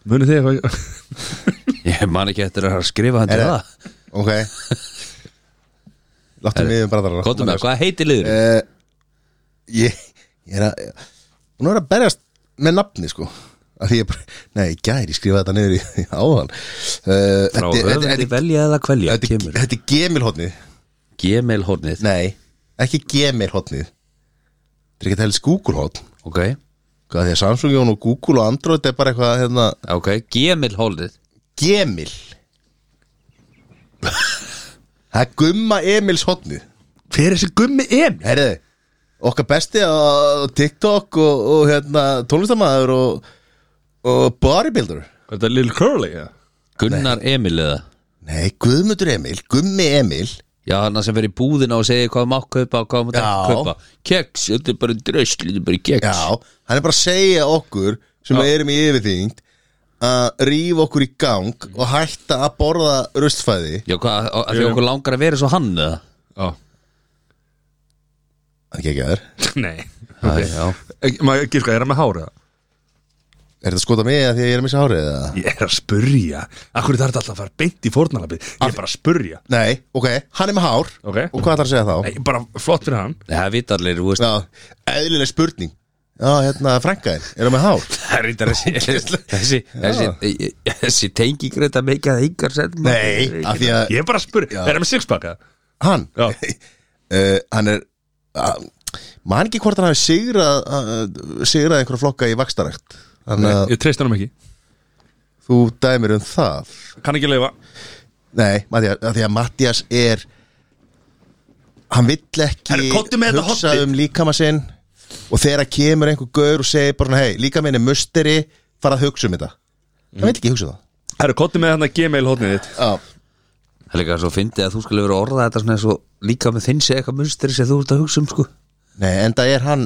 munið þið hvað Ég man ekki eftir að skrifa hann til Er það? það Ok Láttum við um bræðara Kóttum með, hvað heitir liður? uh, Ég Ég er að Hún er að berjast með nafni sko Af því ég bara Nei, ég gæri, ég skrifaði þetta niður í áðan uh, Frá Þetta þetta- höfundi þetta- velja eða kvelja þetta- Kemur Þetta er gemilhotnið Gmail hornið Nei, ekki gemilhotnið Þetta er ekki að tala skúkulhotn Ok, Hvað því að Samsung Jón og Google og Android er bara eitthvað hérna, ok, Gmail hornið gemil Það er gumma Emils hotnið hver er þessi gummi Emil? Herðu, okkar besti á TikTok og, og hérna, tónlistamæður og, og bodybuilder Hvað er þetta Lil Curly? Ja? Gunnar Emil eða Nei, Guðmundur Emil, Gummi Emil Já, hann sem fer í búðina og segir hvað þú mátt kaupa og hvað þú mátt Já. ekki kaupa Keks, þetta er bara drösl, þetta er bara keks Já, hann er bara að segja okkur sem erum í yfirþyngd að rífa okkur í gang og hætta að borða rustfæði Já, hvað, á- því okkur langar að vera svo hann eða Já, Það er ekki ekki að þér nei okay. Já, Ekki- maður ekki sko, er hann með hárið? Er þetta að skota mig að því að ég er að missa hárið eða? Ég er að spurja, akkur þarf þetta alltaf að fara beint í fórnalabið, ég er bara að spurja Nei, ok, hann er með hár Ok. Og hvað þarf að segja þá? Nei, bara flott fyrir hann það er vitarleir, þú veist Já, eðlileg spurning Já, hérna, frænkaðin, er hann með hár? Það er reyndar þessi Þessi, þessi, eh, þessi tengigreita mikið að yngar setjum Nei, af því að Ég er bara að spurja, er hann með sixpacka? hann Já. uh, Hann er uh, Man ekki hvort hann hafi sigrað uh, Sigrað einhverja flokka í vakstarækt Þannig að Ég treyst hann ekki, þú dæmir um það kann ekki leifa Nei, Mattias, af því að Mattias er Hann vill ekki Herru, komdu með þetta hugsa hornið. um líkama sinn og þegar kemur einhver gaur og segir bara svona, hei, líka minni musteri fara að hugsa um þetta hann veit ekki hugsa um það Herru, kottu með þarna gmail hotnið þitt Já, Það er líka svo fyndið að þú skulle vera að orða þetta svona svo líka með þinn sé eitthvað munstri sem þú ert að hugsa um sko nei, en það er hann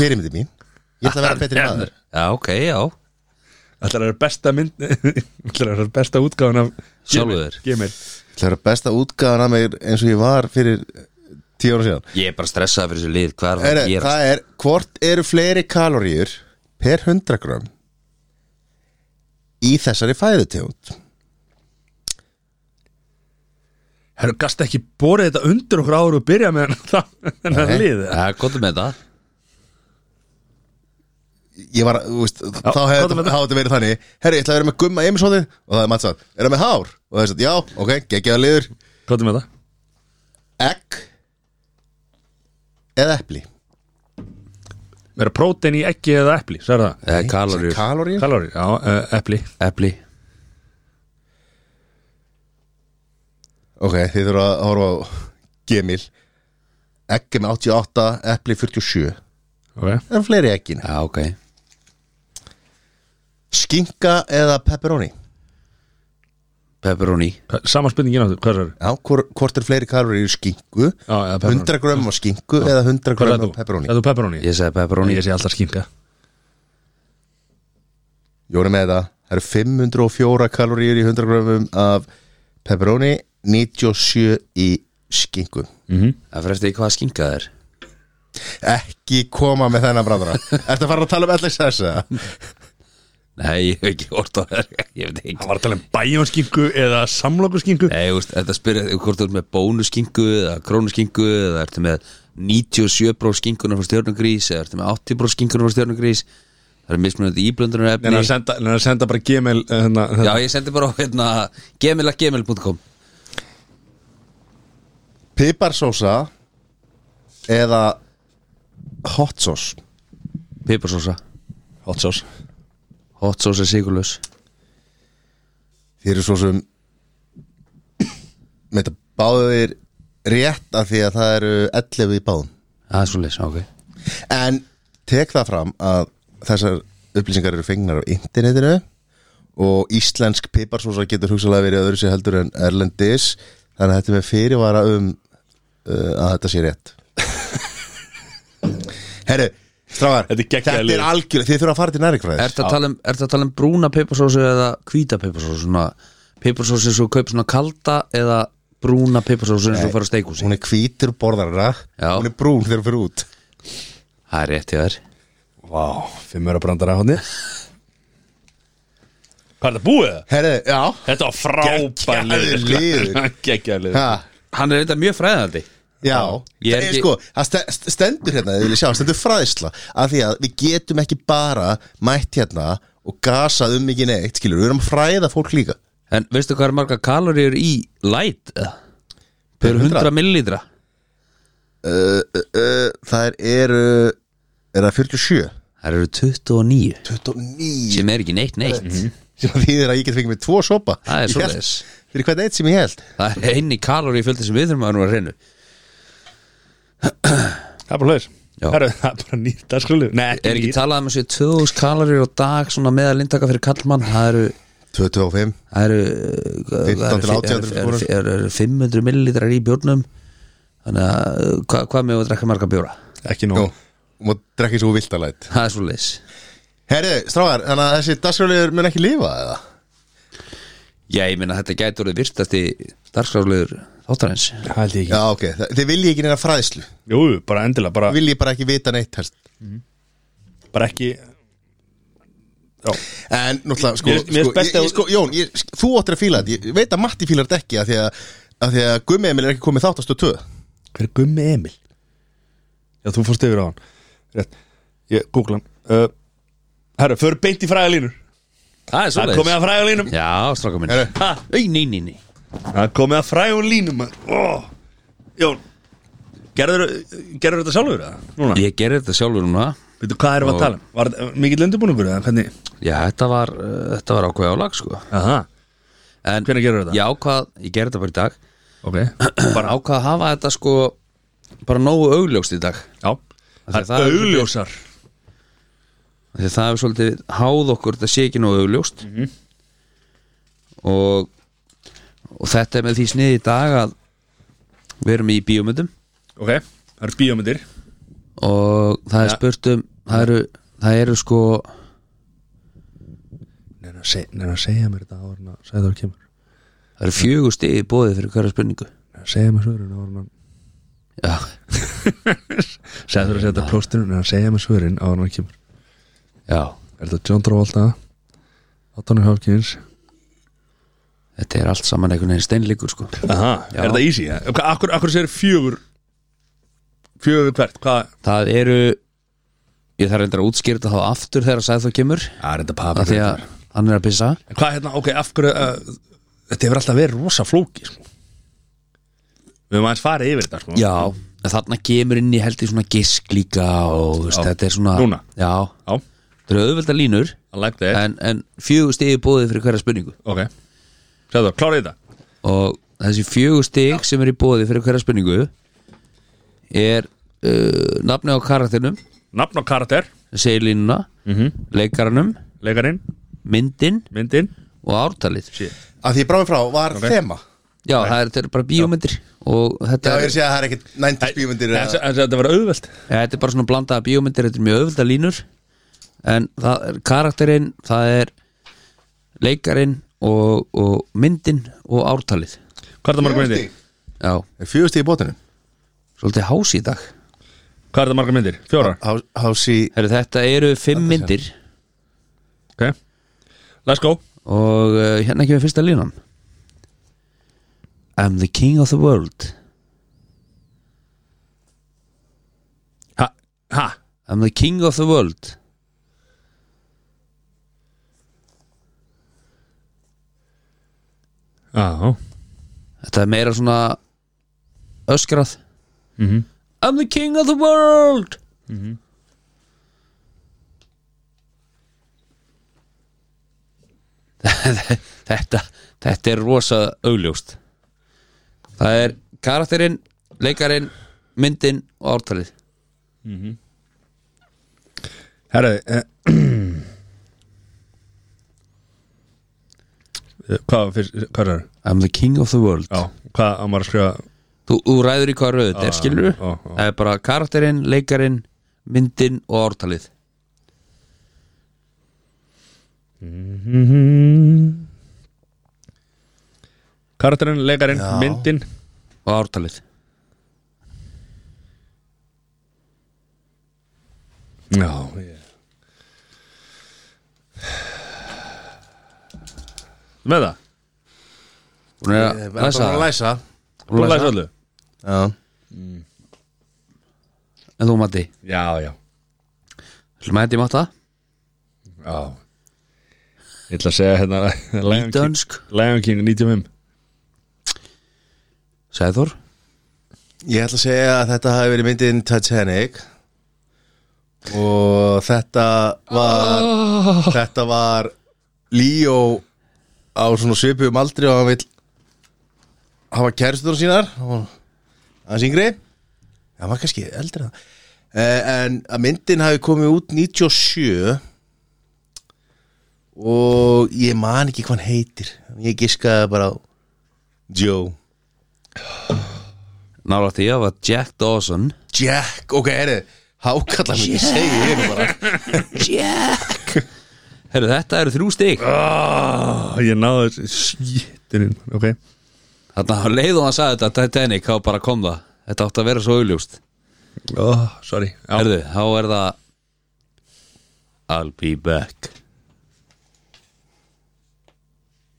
fyrirmyndi mín Ég ætla að vera betri maður Já, ok, já, Ætlar að vera besta mynd Ætlar að vera besta útgáðan af Sjálfur Gmail- þér. Gmail Það er að besta útgáðan af mér eins og ég var fyrir tíu ára síðan ég er bara stressað fyrir þessu lið Hvað er það Heyrðu, að gera? Það er, hvort eru fleiri kaloríur per 100 gram í þessari fæðutegund Herru, gast ekki borið þetta undir okkur áður og byrja með þennan Nei. lið Já, gott með þetta Ég var, að- þú veist, þá komdu hefði með það. þetta verið þannig Herri, ég ætla að vera með gumma eimisóðin og það er matsað, er það með hár? Og það er sagt, já, ok, geggjaða liður Kottu með það Egg eða epli Verða prótein í eggi eða epli, sagði það Eh, Kaloríur, Kaloríur? Kalori, já, eh, epli epli Ok, þið þurfa að horfa á gemil Egg er með 88, epli 47 okay. Það er fleiri eggin Já, ok Skinka eða pepperoni? Pepperoni Hvað- Sama spurningin áttu, hvað er það? Já, hvor, hvort er fleiri kaloríur í skinku Já, eða pepperoni. 100 grömm á skinku eða 100 Hvað grömm er á pepperoni Er þú pepperoni? Ég segi pepperoni Ég sé alltaf skinka Jóni með þetta, það eru 504 kaloríur í 100 grömmum af pepperoni 97 í skinku Það fyrir eftir hvað skinka það er Ekki koma með þennan brandara Ertu að fara að tala um allir sessa? Nei, ég hef ekki orð á það Ég veit ekki Það var að tala um bæjónskingu eða samlokuskingu Nei, þú veist, þetta spyrir hvort þú ert með bónuskingu eða krónuskingu eða ertu með 97 bróf skinguna frá stjörnugrís eða ertu með 80 bróf skinguna frá stjörnugrís Það er mismunandi Neina íblöndunar efni að senda, neina að senda bara gmail eh, hérna, Já, hérna. ég sendi bara á hérna gemil.gemil.com Piparsósa eða hot sauce Piparsósa Hot sauce Hot sauce er sigurlaus Þið eru svo sem með þetta báðir rétt af því að það eru 11 í báðum Það er svo leys, ok En tek það fram að þessar upplýsingar eru fengnar á internetinu og íslensk piparsósa getur hugsalega verið öðru sér heldur en erlendis þannig að þetta er með fyrirvara um uh, að þetta sé rétt Herru, strágar Þetta er geggjað þetta lið. er algjörlega, þið þurfa að fara til nærikfræðis Ertu að tala um, ertu að tala um brúna piparsósu eða hvíta piparsósu svona piparsósu sem svo kaup svona kalda eða brúna piparsósu sem svo fara að steiku sig Hún er hvítur borðarra, Já. hún er brún þegar hún fyrir út Það er rétt hjá þér Vá, fimmur að brandara hóðni Hvað er það búið? Herru, já Þetta var frábær sko. Geggjaður liður. Gekkjærlið ha, Hann er þetta mjög fræðandi Já, Ég er það er ekki- sko, það st- st- stendur hérna, þið vilja sjá, stendur fræðsla af því að við getum ekki bara mætt hérna og gasað um ekki neitt, skilur, við erum að fræða fólk líka En veistu hvað er marga kaloríur í light? eða? Per 100 millilítra uh, Það eru, er það 47? Það eru 29 29 sem er ekki neitt neitt Sem því er að ég get fengið með tvo sopa Það er Ég held- svoleiðis. Fyrir hvern eitt sem ég held Það er einni kalorí fjöldi sem við þurfum að nú að reynu Það er bara hlöðis Já. Herru, það er bara nýtt dagskrálið Nei, Er ekki nýtt. talað um þessu 2000 kalorí á dag svona meðal inntaka fyrir kallmann Það eru 25 það eru uh, hvað- 15 það eru- til 18 það eru- það eru 500 millilitrar í bjórnum þannig að uh, hvað hva með að drekka marga bjóra Ekki Nú, nóg þú mátt drekka eins og þú vilt að læt það er svo leis Herðu, stráðar, þannig að þessi dagskráliður mun ekki lifa eða? já ég meina þetta gæti orðið virtast í darskráflegur þáttarins Það held ég Já, ok, Þa- þið viljið ekki neina fræðslu Jú, bara endilega, bara, Viljið bara ekki vita neitt helst bara ekki Já, En náttúrulega, sko, Mér- mér finnst sko, best ég, að- ég, sko Jón, ég, þú áttir að fíla þetta Ég veit að Matti fílar þetta ekki að því að, að, því að Gummi Emil er ekki komið þáttastu tvö Hver er Gummi Emil? Já, þú fórst yfir á hann Rétt, ég googla hann uh, Herru, för beint í fræðalínur það er svo Það er komið að fræðalínum já stráka minn Heyrðu. Ha, ei, nei nei nei Það er komið að fræðalínum oh. Jón Gerður, gerður þetta sjálfur eða? Núna, ég gerði þetta sjálfur núna veitu hvað erum við að tala um? Var þetta mikill undirbúningur eða hvernig? já þetta var uh, þetta var ákveð álag sko Aha, en hvernig gerður þetta? ég ákvað ég gerði þetta bara í dag Ok, bara ákvað að hafa þetta sko bara nógu augljóst í dag já Það það er er- augljósar því að það er svolítið háð okkur þetta sé ekki nógu augljóst og og þetta er með því sniði í dag að við erum í bíómyndum Ok, það eru bíómyndir og það er Ja. spurt um það eru, það eru sko Neina að, seg, neina að segja mér þetta áður en að segja það kemur það eru fjögur stigi bóðið fyrir hverja spurningu Neina að segja mér svörin áður en að já, Segja það að setja plósturinn Neina að segja mér svörin áður en að kemur já, Er þetta John Travolta Anthony Hopkins þetta er allt saman einhvern veginn steinleikur sko Aha, er þetta easy? ja? Hva- Akkur, akkur sér fjögur Fjögur hvert, hvað? það eru ég þarf reyndar að útskýra þetta þá aftur þegar Sæþór kemur Það er þetta af því að hann er að pissa En hvað hérna, ok, af hverju uh, Þetta hefur alltaf verið rosa flóki sko. Við höfum aðeins farið yfir þetta sko. já, en þarna kemur inn í held í svona gisk líka og þú veist, Já. þetta er svona Núna? já, Já, þetta eru auðvelda línur I like that en, en fjögur stig er bóðið fyrir hverja spurningu Ok, segðu það, klárið þetta og þessi fjögur stig sem er í bóðið fyrir hverja spurningu er uh, nafni á karakterinum Nafn og karakter, sem segir línuna -hmm. leikaranum, leikarinn, myndin myndin og ártalið að því ég bráði frá var Ok. þema já, það er, þetta eru bara bíómyndir og Já, þetta ég er er, að segja að það er ekkit 90s bíumundir Nei, Þessi þessi- þetta var auðvelt ja, þetta er bara svona blandaða bíómyndir þetta er mjög auðvelda línur en það er karakterinn, það er leikarinn og, og myndin og ártalið Hvað er það marga myndir? já, Fjögust í bótunum svolítið hás í dag Hvað er það marga myndir? Fjórar, Hási Heru, þetta eru fimm myndir ok Let's go og uh, hérna kemur fyrsta línan I'm the king of the world Ha, ha, I'm the king of the world já, þetta er meira svona öskrað Mhm. I'm the king of the world þetta þetta er rosa augljóst það er karakterinn leikarinn, myndin og ártalið Mhm. herraði eh, Eh, Hvað var fyrst, hvað er það? I'm the king of the world Já, hvað á maður að skrifa þú, þú ræður í hvað röðu þetta er skilur já, já. það er bara karakterinn, leikarinn myndin og ártalið Karakterinn, leikarinn, myndin og ártalið Já, ég Með það? hún er Ég að er Eh, bara læsa að það. læsa Búin að læsa öllu? Já en þú Matti, Já, já ætlum að hætti matta Já Ég ætla að segja hérna Lion King, dönsk, Lion King 95 Sæður Ég ætla að segja að þetta hafi verið myndin Titanic og þetta var þetta var Leo á svona svipum aldri og hann vill hafa kæristur sínar og hans yngri hann var kannski eldri en það. Eh, en að myndin hafi komið út 97 og ég man ekki hvað hann heitir ég giskaði bara á Joe nála því að var Jack Dawson Jack, ok, heyrðu Hákallar mér, ég segi ég nú bara Jack Heru, þetta eru þrjú stig oh, Ég náði þessu Sjíturinn, ok þarna á leið og hann sagði þetta Titanic, þá bara kom það þetta átti að vera svo augljóst oh, Sorry Já, Herðu, þá er það I'll be back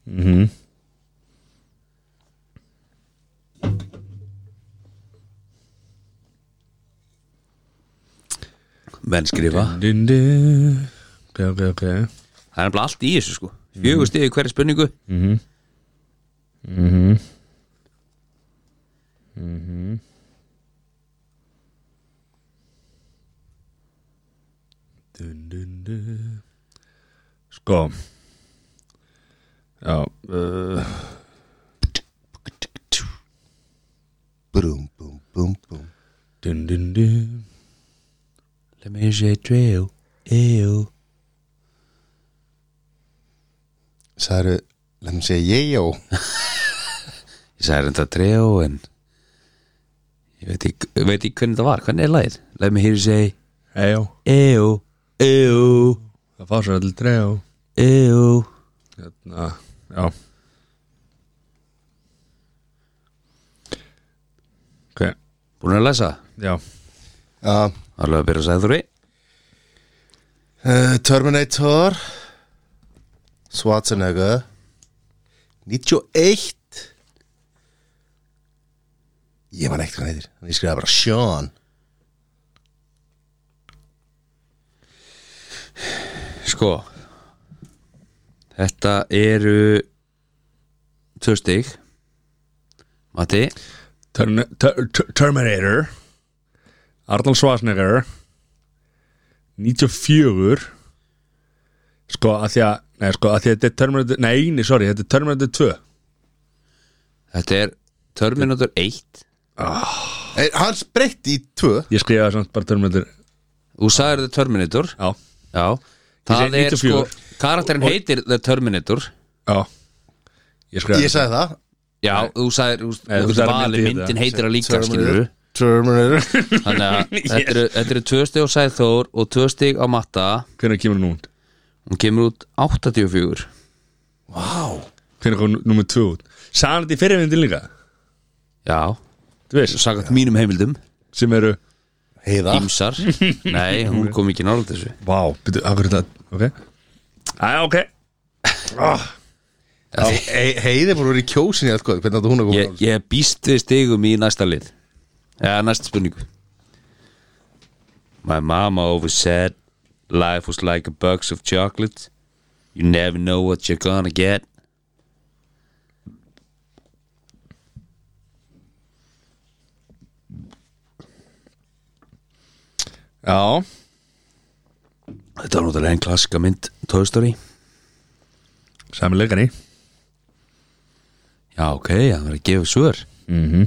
Mhm. menn skrifa Dun, dun. Ok, ok, ok það er nefnilega allt í þessu sko fjögur stiði hverja spurningu dun, dun, dun. Sko Já uh, Brum, bum, bum, bum dun, dun, dun. Let me say drill Ew Særu, let me say yeah Ég sagði reynda drill en Ég veit ekki, veit ekki hvernig það var Hvernig er lagið? Let me hear you say Ejó, Ew Ew það fá sér allir dreg og Ew hérna, já ok, Búin að lesa? já Já, Alveg að byrja að segja þú rey uh, Terminator Schwarzenegger 91 Ég man ekkert hvað hann heitir Þannig ég skrifaði bara Sean Sko Þetta eru Tvö stig Matti Terni- Ter- Ter- Terminator Arnold Schwarzenegger 94 sko að því að nei sko að því að þetta er Terminator nei, nei, sorry, þetta er Terminator 2 Þetta er Terminator 1 Eh, Hann breytti í tvö ég skrifaði samt bara Terminator Þú sagðir The Terminator já, Já Það segi er 94. sko Karakterinn heitir The Terminator já ég skrifaði Ég sagði það Já, þú sagðir Þú Nei, þú þú sagðir vali myndin myndin þetta. heitir að líka skilur Terminator Terminator Þannig að Hérna, þetta eru- þetta eru tvö stig á Sæþór og tvö stig á Matta hvernig kemur nú út Hún kemur út 84 hvernig kom nummer 2 út sagði þetta í fyrirvindin líka Já þú veist, Sagat mínum heimildum sem eru Heiða Ímsar Nei, hún kom ekki nála þessu vá, byrju, af hverju þetta ok, aðja, ok oh, He- Heiði búin að vera í kjósin í allt hvað Hvernig átti hún að koma ég, ég býst við stigum í næsta lið eða næsta spurningu My mama always said Life was like a box of chocolate You never know what you're gonna get já, Þetta var náttúrulega einn klassika mynd Toy Story sami leikari Já, ok, það var að gefa svör Mhm.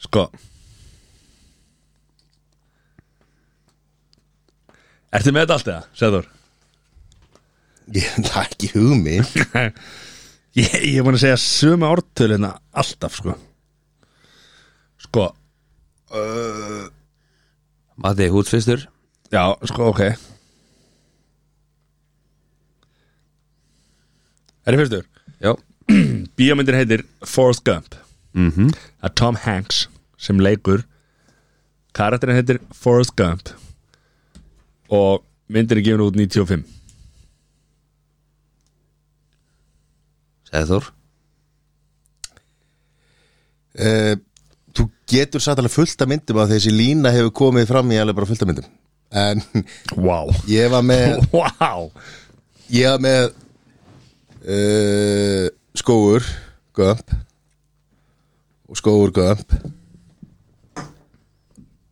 Sko Ertu með þetta allt eða, Sæður? Ég er ekki hugmi Ég, ég er búin að segja sömu ártölina alltaf, sko Sko, Mati, hút fyrstur já, sko, ok Er þið fyrstur? Já Bíómyndin heitir Forrest Gump mm að Tom Hanks sem leikur karakterin heitir Forrest Gump og myndin er gefin út 95 Sæður Eh, Þú getur satt alveg fullt af myndum af þessi lína hefur komið fram í alveg bara fullt af myndum En Wow ég var með Wow Ég var með uh, skóur gömp og skóur gömp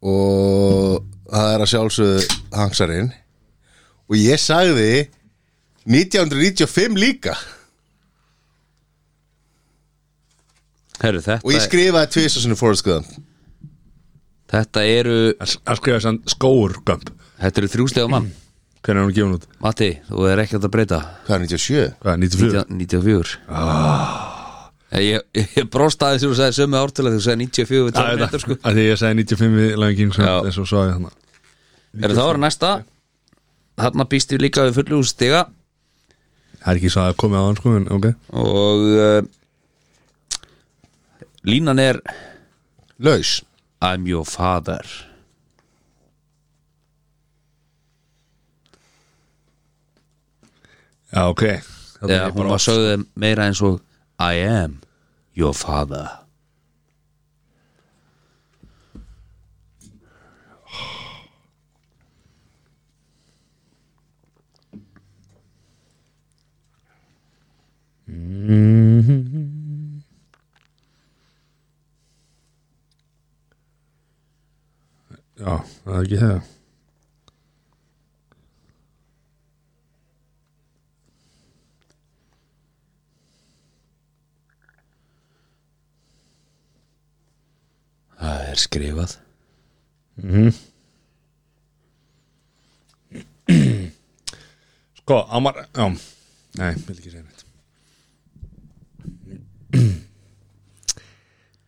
og það er að sjálfsögðu hangsarinn og ég sagði 1995 líka Herru, og ég þetta, skrifaði tvisa sinni Forrest Gump þetta eru að skrifa þessan skóur gömp Þetta eru þrjú stig á mann hvernig er hún gefin út? Mati, þú er ekki að breyta Hvað er 97? hvað, 94? 19- 94 Ah. Eh, Ég, ég, ég brost aðeins þegar þú sagði sömu ártölu þegar þú sagði 94 við Já, ég veit 12 það, sko. að því ég sagði 95 við Lion King sko, Já. eins og svo að ég þannig Er það var næsta Þarna býst við líka við fullu úr stiga það er ekki svo að komið á hann sko en ok og uh, línan er Laus I'm your father já ok Þarna er Þegar ég hún bara- var sögðu meira eins og I am your father já það er ekki það Það er skrifað Sko, Amar, já Nei, ég vil ekki segja neitt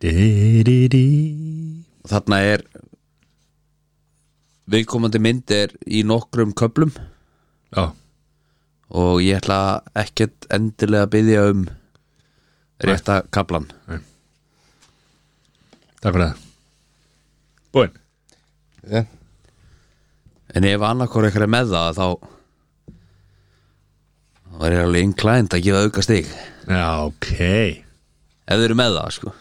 Di-di-di og þarna er viðkomandi mynd er í nokkrum köplum Já, og ég ætla ekkert endilega að byggja um rétta kaplan takk fyrir það Búinn Já. en ef annarkor eitthvað er með það þá þá er ég alveg inklænt að gefa auka stig ef Já, ok þau eru með það sko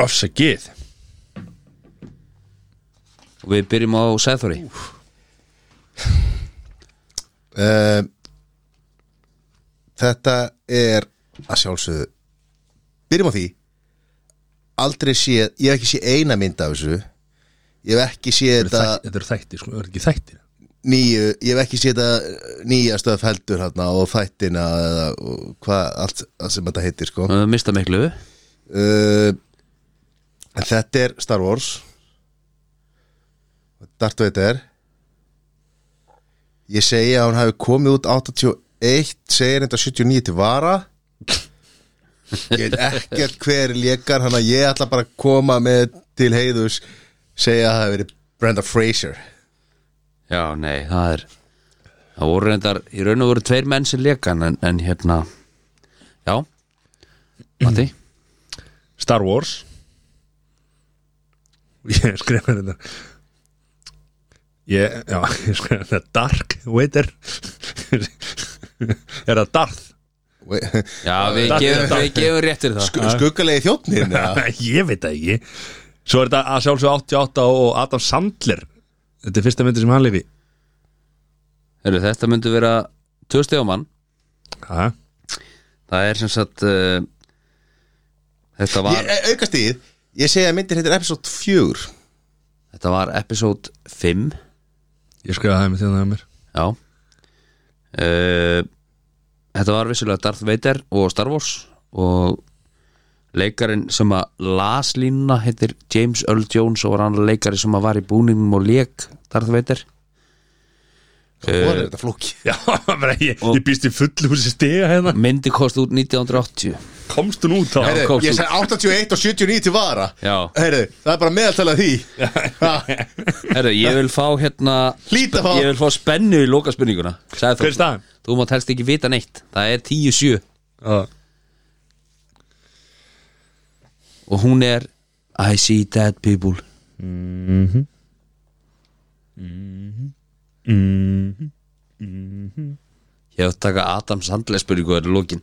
Afsakið og við byrjum á Sethori Eh, Þetta er að sjálfsögðu Byrjum á því Aldrei sé, ég hef ekki sé eina mynd af þessu Ég hef ekki sé þetta Þetta eru þættir, sko, eru ekki þættir nýju Ég hef ekki sé þetta nýja stöf heldur hérna og þættina eða og hvað allt sem þetta heitir sko og við mista miklu uh, en Þetta er Star Wars Darth Vader Ég segi að hún hafi komið út 81 segir þetta 79 til vara Ég veit ekkert hver lékar hann að ég ætla bara að koma með til heiðus segja að það hafi verið Brenda Fraser já nei það er það voru reyndar í raun og voru tveir menn sem lekan en, en hérna já Matti Star Wars Ég skrifa þetta Ég, já, ég skrifa þetta Dark Vader Er það Darth? já við Darth gefum, Vader. við gefum réttir það Sko- Skuggalegi þjóttnin eða? ég veit það ekki Svo er þetta að sjálfsög 88 og Adam Sandler Þetta er fyrsta myndi sem hann leik í Heru, þetta myndi vera tvö stig á mann Ha? það er sem sagt uh, þetta var Ég- Aukast í Ég segi að myndir heitir episode 4 þetta var episode 5 Ég skrifaði það með þegar það er mér já uh, þetta var vissulega Darth Vader og Star Wars og leikarinn sem að las línuna heitir James Earl Jones og var annar leikari sem að var í búningum og leik Darth Vader Það voru þetta flóki Já, bara ég, ég býst í fullu húsi stiga hérna myndi kosti út 1980 Komst hún út á Já. Heyrðu, komst Ég út. segi 81 og 79 til vara Já. Heyrðu, Það er bara meðaltalað því Ha, Herra, ég vil fá hérna Hlýta fá. Ég vil fá spennu í lokaspurninguna Sagði Hver er staðan? Þú mátt helst ekki vita neitt Það er 10-7 Já. Og hún er I see dead people Ég hef að taka Adam Sandler spurningu Það er lokin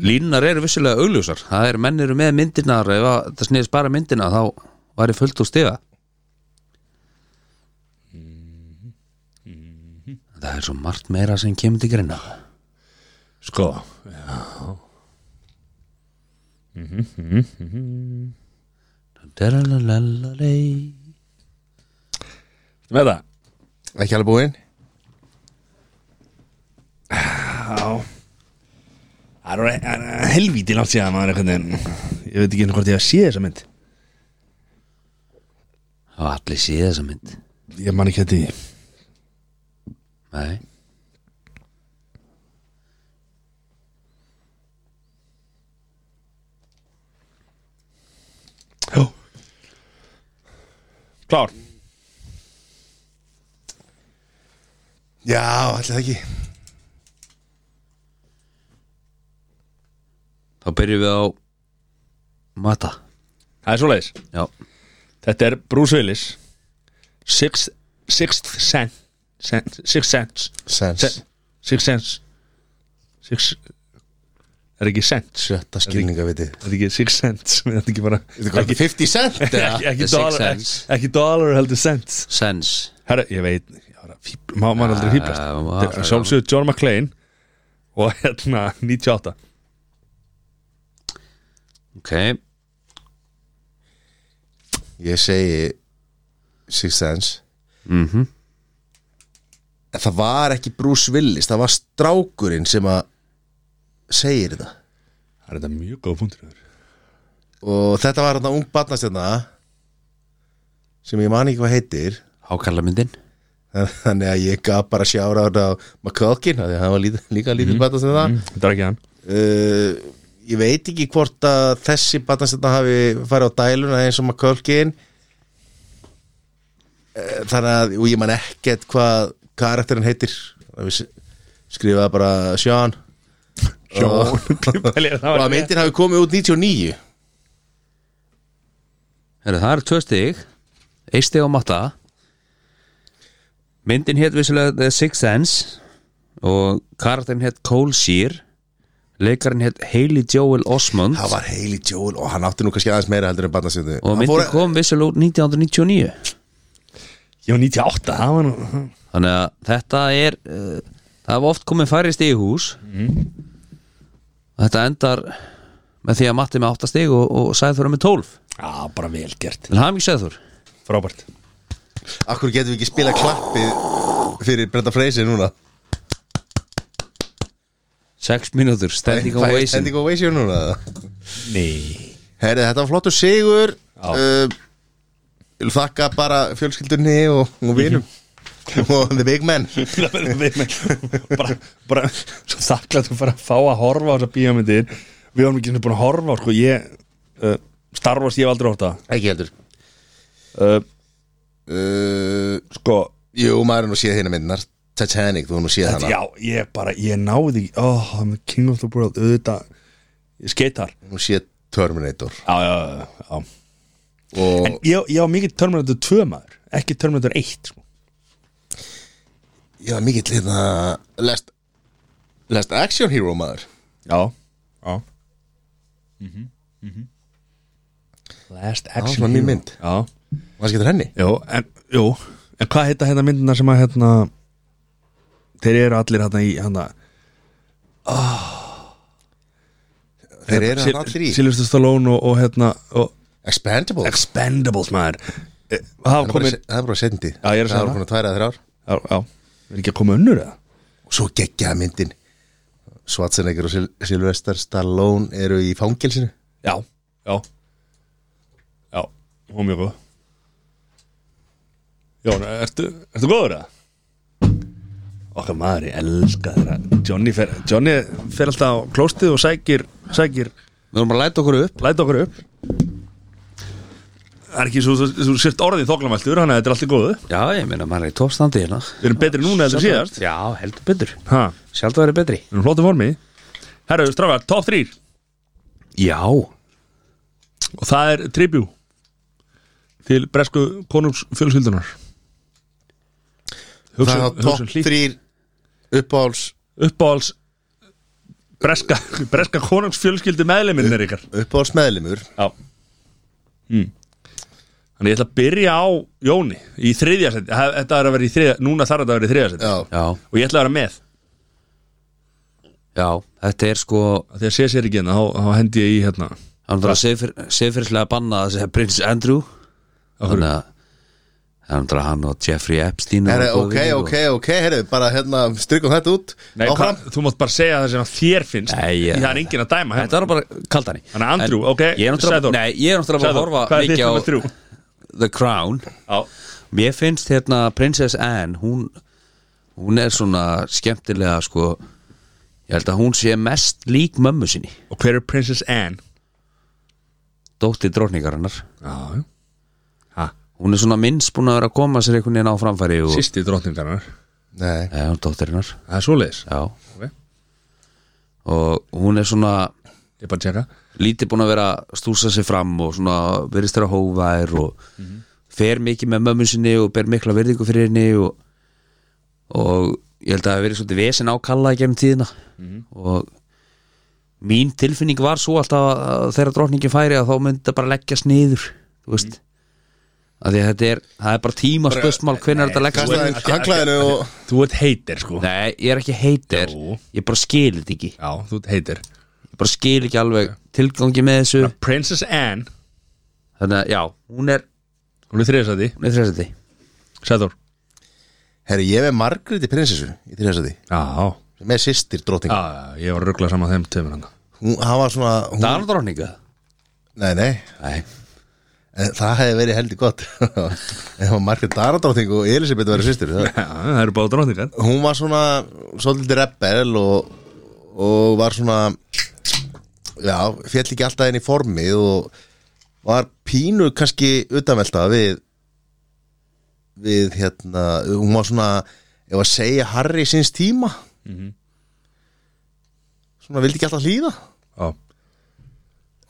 Línunar eru vissulega augljósar Það er menn eru með myndirnar Ef að það sniðist bara myndina þá væri fullt úr stiga Það er svo margt meira sem kemur til greina Sko, Dalalalei. ertu með það Ekki alveg búinn Það er orðið- það er helvítið langt síðan maður einhvern veginn Ég veit ekki einu hvort ég að sé þessa mynd Það var allir séð þessa mynd Ég man ekki þetta í Nei Já Klár Já, allir það ekki Þá byrjum við á Mata Það er svoleiðis Já Þetta er Bruce Willis Sixth, sixth Sense sen, Sixth Sense Sens sen, Sixth Sense Six Er ekki Sense Sjötta skilninga viti Er ekki Sixth Sense Er þetta ekki bara Ekki, 50 cent eða? ekki, ekki, The Sixth dollar, ekki, Sense. ekki dollar heldur Sense Sense Herra, ég veit ég var að fíbl- Má mann aldrei fýblast Já, Ah, maður- Þetta er sjálfsögur John McClane Og hérna 98 Ok Ég segi Six Sense mm En það var ekki Bruce Willis Það var strákurinn sem að segir þetta Það er þetta mjög góð punktur og þetta var þarna ung barnastjarna sem ég man ekki hvað heitir Hákalla myndin þannig að ég gaf bara sjára á þetta á McCulkin, af því að hann var líka, líka lítið mm. barnastjarna Þetta er ekki hann uh, ég veit ekki hvort að þessi barnastjarna hafi farið á dæluna eins og McCulkin uh, þannig að og ég man ekkert hvað karakterinn heitir Það við s- skrifaði bara Sean Sjón og, og að myndin hafi komið út 99 Heru, Það eru tvö stig Eitt stig á matta Myndin hétt vissulega The Sixth Sense og karakterin hétt Cole Shear leikarinn hétt Hailey Joel Osmond Það var Hailey Joel og hann átti nú kannski aðeins meira heldur en barnasöndu og myndin kom vissulega út 1999 Ég var 98, það var nú þannig að þetta er uh, það hafa oft komið færri stig í hús Mhm. þetta endar með því að Matti með 8 stig og, og Sæður er með 12 Já, bara vel gert til hann ekki Sæður Frábært Akkur getum við ekki spila klappið fyrir Brenda Freysi núna 6 mínútur, standing Hvað er ovation Standing Ovation núna Nei Herri, þetta var flottur sigur Já. uh, ég vil Þakka bara fjölskyldunni og, og vinum Mhm. og the big men bara, bara svo þakklætt að fara að fá að horfa á þessar bíómyndir við varum ekki svona búin að horfa á, sko, ég uh, starfast ég hef aldrei horta Ekki heldur uh, uh, sko, Jú, maður er nú séð hérna myndnar Titanic, þú er nú séð hana já, ég bara ég náði, ekki- ó, oh, King of the World auðvitað, ég skeitar Nú séð Terminator já, já, já, já og en ég, ég var mikið Terminator 2 maður ekki Terminator 1 sko. ég var mikill hérna last, last Action Hero maður já, já mm Mhm, Last Action svona ný Hero. mynd. já, Hvað skiptir henni? Jó, en, jú, en hvað heita hérna myndina sem að hérna þeir eru allir hérna í hérna Þeir eru hann allir í Silvestur hérna, Stallone og, og hérna og Expendables Expendables maður Eh, Það var Það er bara komið se- það er bara sendi Já, ég er að segja Það það. er bara tværa þrjár Já, já, er ekki að koma önnur eða? Og svo geggjaða myndin Schwarzenegger og Sil- Sylvester Stallone eru í fangilsinu Já, já Já, hún mjög góð Jón, ertu, ertu góður eða? Okkar maður, ég elska þeirra Johnny fer, Johnny fer alltaf á klóstið og sækir, sækir við vorum bara að læta okkur upp læta okkur upp Það er ekki svo, svo, svo sért orðið þoklamæltur Þannig að þetta er allt í góðu já, ég meina, maður er í toppstandi hérna Við erum betri núna eða síðast já, heldur betur, Ha, sjálf það verið betri Við erum flottum formi Herra, strafar, top 3 já, Og það er tribjú Til bresku konungsfjölskyldunar Það er Hugsun, top hugsun hlýtt 3 uppáhalds Uppáhalds Breska, breska konungsfjölskyldu meðleminn er ykkar uppáhalds meðlimur Já mm. Þannig ég ætla að byrja á Jóni Í þriðja seti Þetta er að vera í þriðja Núna þarf þetta að vera í þriðja seti Já, já, og ég ætla að vera með já þetta er sko að því að sé sér ekki hérna, þá, þá hendi ég í hérna hann var segfyrslega að banna þessi prins Andrew þannig að þannig að hann og Jeffrey Epstein herri, voru ok, góðir og- ok, ok, herri, bara hérna strykum þetta út Nei, hva, Áfram þú mátt bara segja það sem að þér finnst Nei, ég- það er engin að dæma hérna Þetta var bara kaldani Þannig að Andrew, ok, Ég er náttúrulega Sæþór. Nei, ég er náttúrulega bara að Sæður, horfa hvað er þitt mikið á nummer þrjú? The Crown Já, Mér finnst hérna Princess Anne Hún, hún er svona skemmtilega sko Ég held að hún sé mest lík mömmu sinni og hver er Princess Anne? Dóttir drókningarinnar Já, já Hún er svona minnst búin að vera að koma sér einhvern veginn á framfæri og, Sýsti drottningarnar, Nei, Nei, hún er dóttirinnar það er svoleiðis Já Ok. Og hún er svona Ég er bara að tjekka lítið búin að vera að stúsa sig fram og svona verist þeirra hóvær og fer mikið með mömmu sinni og ber mikla verðingu fyrir henni og, og ég held að það hafi verið svolítið vesen ákalla gegnum tíðina og mín tilfinning var svo alltaf að- að þegar drottningin færi að þá myndi það bara leggjast niður þú veist að því að þetta er, það er Mm. bara tíma spursmál hvernig þetta leggst kastaði niður inn hanglaðinu og Þú ert heitir sko Nei, ég er ekki heitir, Jú. ég bara skil þetta ekki Já, þú ert heitir ég bara skil ekki alveg tilgangi með þessu Princess Anne, þannig að já, hún er, hún er þriðasæti hún er þrjastandi Sæður Herri, ég er Margreti prinsessu í þrjásæti Já, sem er sýstir já, drotting já, ég var að ruggla saman þeim tveimur hann Hún, hann var svona, hún, Danadróninga Nei, nei, Nei, en það hefði verið heldur gott Ef hún margir daradrótting og Elisabeth verið sýstir það. Já, það eru báða dróningar Hún var svona svolítið rebel og, og var svona Já, fjall ekki alltaf inn í formið og var pínu kannski utanvelta við við hérna hún var svona, ef að segja Harry sinns tíma Mhm. svona vildi ekki alltaf hlýða Já,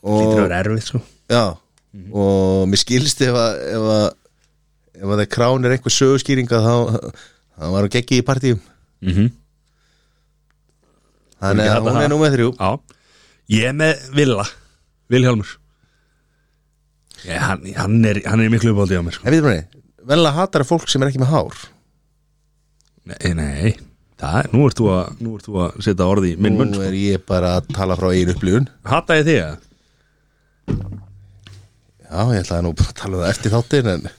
og, lítur að vera erfið sko Já, og mér skilst ef að ef að, ef að það krán er einhver sögurskýringa þá, þá var hún geggi í partíum mm -hmm. Þannig Ekki að hætta hún það. er nú með þrjú Já, ég er með Villa Vilhjálmur ég, hann, hann, er, hann er í miklu uppáldi á mér sko. En við erum henni, venlega hatar fólk sem er ekki með hár Nei, nei Það, nú ert þú að, nú ert þú að setja orði í minn munn sko. Nú er ég bara að tala frá einu upplifun Hata ég þig að Já, ég ætlaði nú bara að tala um það eftir þáttin en,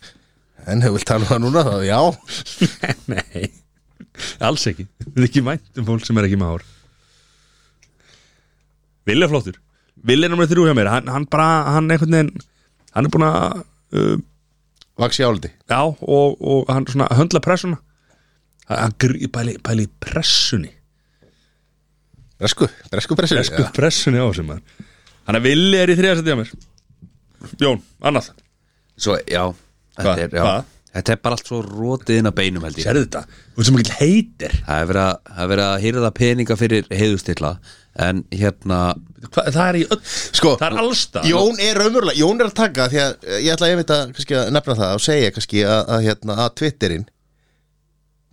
en hefur vil tala um það núna þá já Nei, alls ekki Við erum ekki vænt um fólk sem er ekki með hár Vilja flottur Vilja nummer þrjú hjá mér Hann, hann bara, hann einhvern veginn Hann er búin að uh, Vaxi áldi Já, og, og hann svona höndla pressuna Hann- Hann grí- pæli, pæli í pressunni Bresku, bresku pressu Esku pressunni á sem maður Þannig að Villi er í þriðarsætti hjá mér Jón, annað svo já, Hva? þetta er, já. Hva? þetta er bara allt svo rotið inn að beinum held ég Sérðu þetta? Þú ert sem ekki heitir Það er verið að, það er verið að hýrða peninga fyrir heiðustilla En hérna, Hva, Það er í öll Sko, Það er allstað Jón er raunverulega, Jón er að taka því að eh, ég ætla að ég veit að kannski að nefna það og segja kannski að, að, hérna, að Twitterinn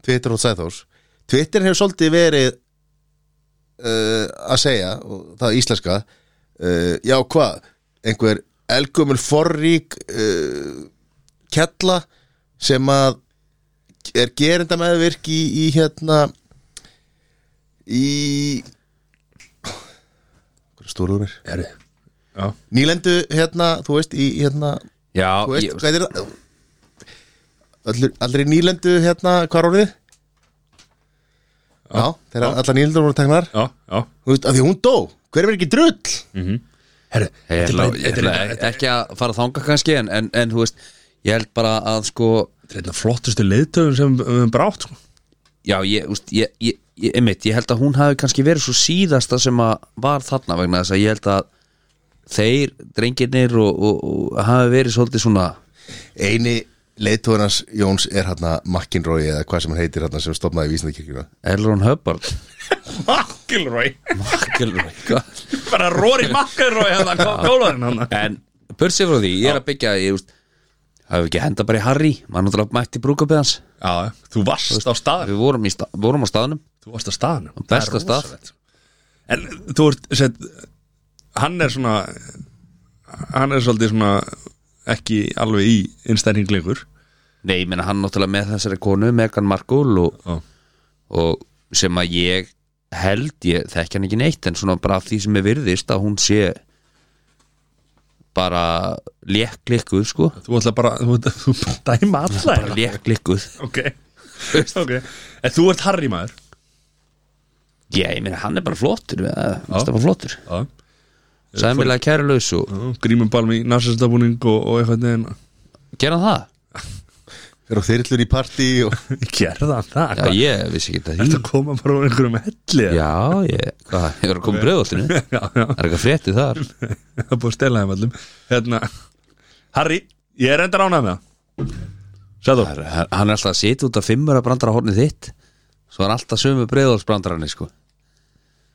Twitter og Sæþórs Twitterinn hefur svolítið verið uh, að segja og það er íslenska uh, já hvað, einhver elgumul forrík uh, kjalla sem að er gerinda meðvirk í, í hérna í hvað er stóruður mér? Sérðu Já nýlendu hérna, þú veist, í hérna já, þú veist, ég, hvað er það? Allir, allir í nýlendu hérna, hvað er orðið? Já, þegar allar nýlendur voru teknar Já, já Þú veist, af því hún dó, hver er ekki drull? Herru, ég þetta er ætla, bara ég Þetta er ætla bara- þetta er- ekki að fara þanga kannski en, en, en þú veist, ég held bara að sko þetta er einna flottustu leiðtöfum sem við höfum brátt sko. Já, ég, úst, ég, ég, ég, einmitt, ég held að hún hafi kannski verið svo síðasta sem að var þarna vegna þess að ég held að þeir, drengirnir og, og, og hafi verið svolítið svona Eini leiðtóðunars Jóns er hérna McEnroy eða hvað sem hann heitir hérna sem stofnaði vísindakirkjuna Elron Hubbard McElroy Gilroy, hvað? Bara Rory McElroy Hérna kom kólaðurinn hann En börsið frá því, ég er að byggja ég, úst, hafi ekki henda bara í Harry maður náttúrulega mætti brúkabið hans Já, þú varst á staðan Við vorum, í sta, vorum á staðnum Þú varst á staðan Besta stað. En þú ert set, Hann er svona Hann er svolítið svona Ekki alveg í innstæringleikur Nei, ég meina hann náttúrulega með þessari konu Megan Markle og, Já. og sem að ég held ég þekki hann ekki neitt en svona bara af því sem er virðist að hún sé bara lékklikkuð sko Þú ætla bara Þú, þú bara dæma alla bara hérna. lékklikkuð Ok Ok En þú ert Harry maður Já, ég meina hann er bara flottur við- það er bara flottur Já sæmilega kærulaus og Grímumbalm í narsistabúning og, og eitthvað neðin gera hann það? Er á þyrlur í partí og Gerða hann það Já, Hvað? ég vissi ekki þetta Þetta koma bara úr einhverjum helli eða? Já, ég, hvað, ég var að koma bröðoltinu Það já, já er eitthvað fréttið þar Það er búið að stela þeim allum Hérna Harry Ég er enda ránað með það Sæður Það er- Hann er alltaf að setja út að fimmur að brandara hornið þitt Svo er alltaf sömu breiðolsbrandararni sko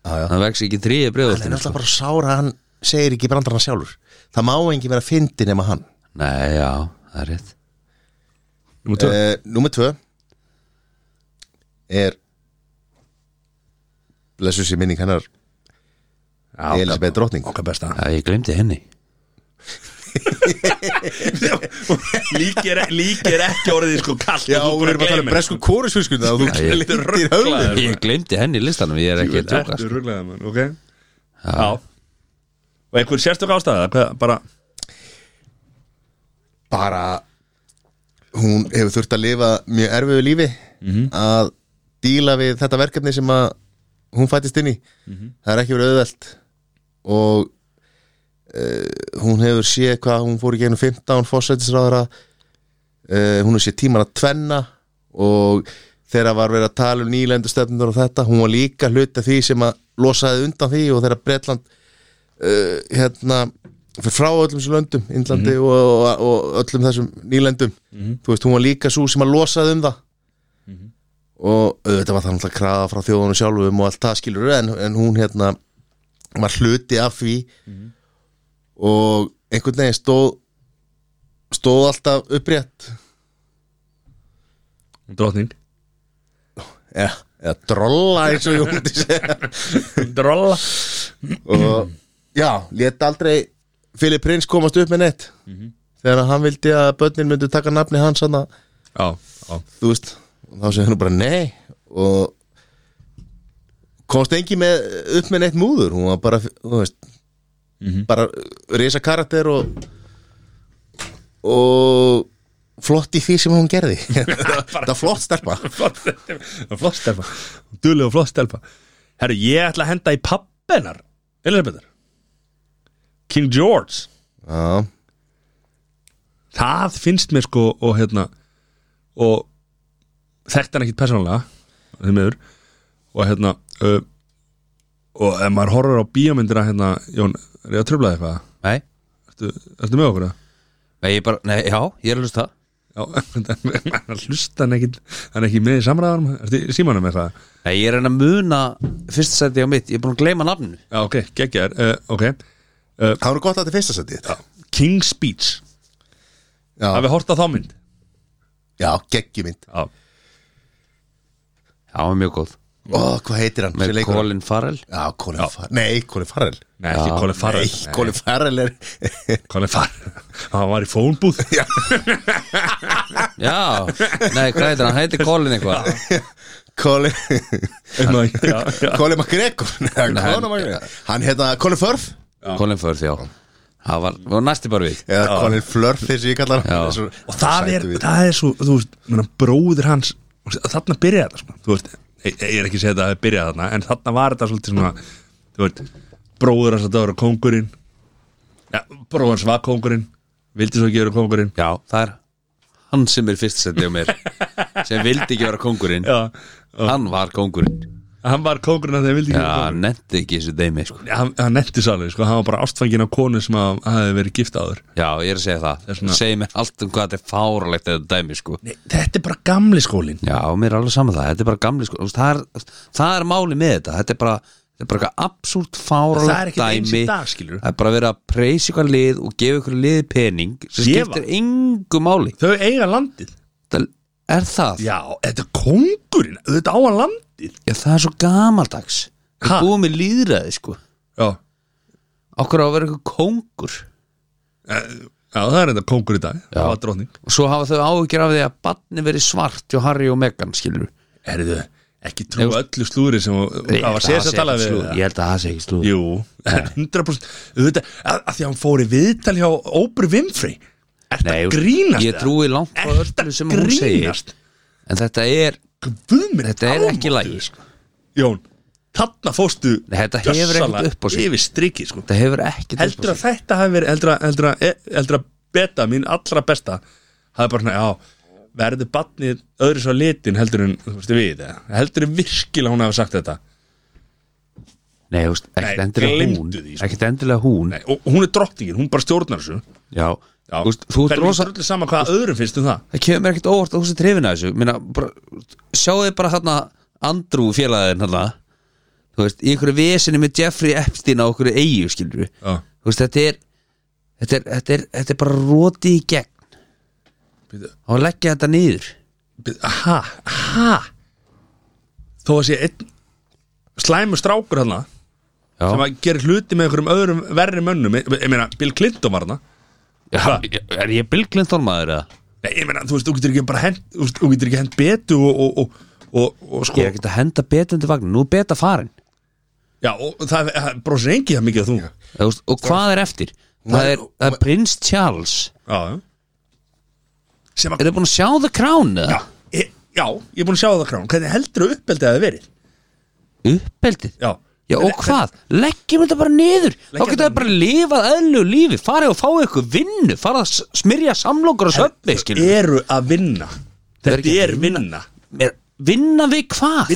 Já, já. Það vex ekki þrýði Það er breiðoltinu alltaf bara sára að hann segir ekki brandarna sjálfur Það má engin vera fyndi nema hann Nei, já, það er rétt Númer Eh, Númer tvö Er Blessu sér minning hennar Elisabeth drottning Okkar besta Já, ég glemdi henni Líki er, líki er ekki orðið sko kallt Já, við erum að tala um bresku kórusfjölskyldu og þú ég- glindir höfðið Ég glemdi henni í listanum, ég er ekki að sko. tjóka Þetta er rugglaðið mann, ok Já Og einhver sérstök ástæða Hvað, bara Bara Hún hefur þurft að lifa mjög erfiðu lífi að díla við þetta verkefni sem að hún fættist inn í Það er ekki verið auðvelt og eh, hún hefur séð hvað hún fór í gegnum 15 fórsætisráðara uh, hún hefur séð tíman að tvenna og þegar var verið að tala um nýlendu stefnundur og þetta, hún var líka hluti af því sem að losaði undan því og þegar Bretland uh, hérna fyrir frá öllum þessum löndum, Indlandi og, og, og öllum þessum nýlendum þú veist, hún var líka svo sem að losaði um það og auðvitað var það náttúrulega kraða frá þjóðunum sjálfum og allt það skilur en, en hún hérna var hluti af því og einhvern veginn stóð stóð alltaf upprétt Drottning eða, eða drolla eins og ég hundi segja Drolla og já, lét aldrei Philip Prince komast upp með neitt þegar hann vildi að börnin myndu taka nafni hans hann að Já, já þú veist, og þá segir hann bara nei og komst engin með, upp með neitt múður hún var bara, þú veist bara risa karakter og og flott í því sem hún gerði þetta er flott stelpa Flott stelpa. Flott stelpa Duðlega og flott stelpa Herru, ég ætla að henda í pappenar Elizabethar King George já, Það finnst mér sko og hérna og þekkt hann ekkit persónulega því miður og hérna uh, og ef maður horfir á bíómyndina hérna, Jón, er ég að tröfla eitthvað? Nei, Ertu, ertu með okkur það? nei, ég bara, nei, já, ég er að hlusta Já, hann hlusta hann ekkit hann er ekki með í samræðanum, ertu í símanum með það? Nei, ég er enn að muna Fyrst sætti á mitt, ég er búin að gleyma nafnu Já, ok, geggjar, uh, ok það voru gott að þetta er fyrsta sætti King's Speech Já. Hafið hort á þá mynd já, geggjumynd Já, Já, mjög góð ó, hvað heitir hann? sem Með leikur hann? Colin Farrell Já, Colin Farrell Nei, Colin Farrell nei, ekki Colin Farrell Nei, Colin Farrell er Nei, Colin Farrell Hann var í fónbúð Já, nei, hvað heitir hann? Hætti Colin eitthvað Colin Já, já. Colin McGregor Nei, Conor hann- McGregor. Hann heita Colin Firth Colin Farrell, já Það var, var næsti bara við eða Colin Flörth eins og ég kallar hann Já. Þessu Og það er, sætu við. það er svo, þú veist menna, Bróðir hans, þú veist, þarna byrjaði þetta sko. Þú veist, ég, ég er ekki að segja þetta að það byrjaði þarna En þarna var þetta svolítið svona Þú veist, bróðir hans að það voru kóngurinn ja, Bróðir hans var kóngurinn Vildi svo ekki vera kóngurinn Já, það er hann sem er fyrst sætti á mér Sem vildi ekki vera kóngurinn Já, Hann var kóngurinn hann var kóngurinn að þegar vildi ekki vera Já, hann nefndi ekki þessu dæmi sko. hann, hann netti sálið, sko, hann var bara ástfangin á konu sem að, að hafi verið gift áður Já, ég er að segja það, er svona- Segir mér allt um hvað þetta er fáralegt Þetta dæmi, sko Nei, þetta er bara gamli skólin Já, mér er alveg saman það, þetta er bara gamli sko, þú veist, það, er, það er máli með þetta Þetta er bara, þetta er bara eitthvað absúrt fáralegt Það er ekkert dæmi eins í dag, skilurðu. Það er bara að vera að preysi eitthvað lið og gefa eitthvað lið pening sem Gefa. skiptir engu máli Þau eiga landið það, Er það? Já. Já, þetta er kóngurinn, þetta á að landið það er svo gamaldags Ha? Við búum í líðræði sko Já, Okkur á að vera eitthvað kóngur já það er þetta kóngur í dag Já. Það var dróðning Og svo hafa þau áhyggjur af því að barni verið svart hjá Harry og Meghan skilur Erðu, ekki trú öllu slúri sem og- og það var sérs að tala við Ég held að það sé ekki slúð Jú, Eh. 100% Þetta, að, að því að hann fór í viðtal hjá Óbru Vimfrey Er Nei, þetta grínast? ég trúi langt frá Er öllu sem hún segir. En þetta er Guðminn, Þetta er ekki lægi sko. Jón, þarna fóstu Nei, þetta hefur ekkert gjörsamlega upp á sig. Yfir strikið, sko Þetta hefur ekki heldur að þetta hafi verið heldur að, heldur að, heldur að beta mín allra besta hafi bara svona, já, verður batnið öðru svo litin heldur en þú veist við eða? heldur en virkilega hún hafi sagt þetta Nei, þú veist, ekkert Nei, endilega gleymdu hún því, sko. Ekkert endilega hún Nei, og og hún er drottningin, hún bara stjórnar þessu Já, já, þú veist, þú Það ert er rosa allir sama hvað öðrum finnst um það Það kemur mér ekkert óvart að þú sér trefina þessu Minna, bara, sjáðu bara þarna Andrú félagðin þarna Þú veist, í einhverju vesinu með Jeffrey Epstein á einhverju eigu, skilur við já, Þú veist, þetta er Þetta er, þetta er, þetta er bara roti í gegn Bíddu. Og leggja þetta niður Bíddu, ha, ha þó að sé einn slæmur strákur hann Já, sem að gera hluti með einhverjum öðrum verri mönnum, ég, ég meina Bill Clinton var hann já er ég Bill Clinton maður eða? Nei, ég meina, þú veist, þú getur ekki bara hent þú veist, þú getur ekki hent betu og, og, og, og, og Ég sko, er ekkert að henda betandi vagn, nú er beta farin já, og það það brosir engi það mikið að þú Já, Þú veist, og hvað er eftir það er, það er prins Charles já Sem að, er það búin að sjá það kránu já, ég, já, ég er búin að sjá það krán Hvernig heldur þú uppeldið að það hafi verið? uppeldið Já, Já og hvað? Leggjum þetta bara niður Þá Leggjum getur það þetta bara lifað eðlu lífi Farið og fáið ykkur vinnu Farið að s- smyrja samlokur og söpbi skilur eru að vinna eru þetta ekki að er vinna er, Vinna við hvað?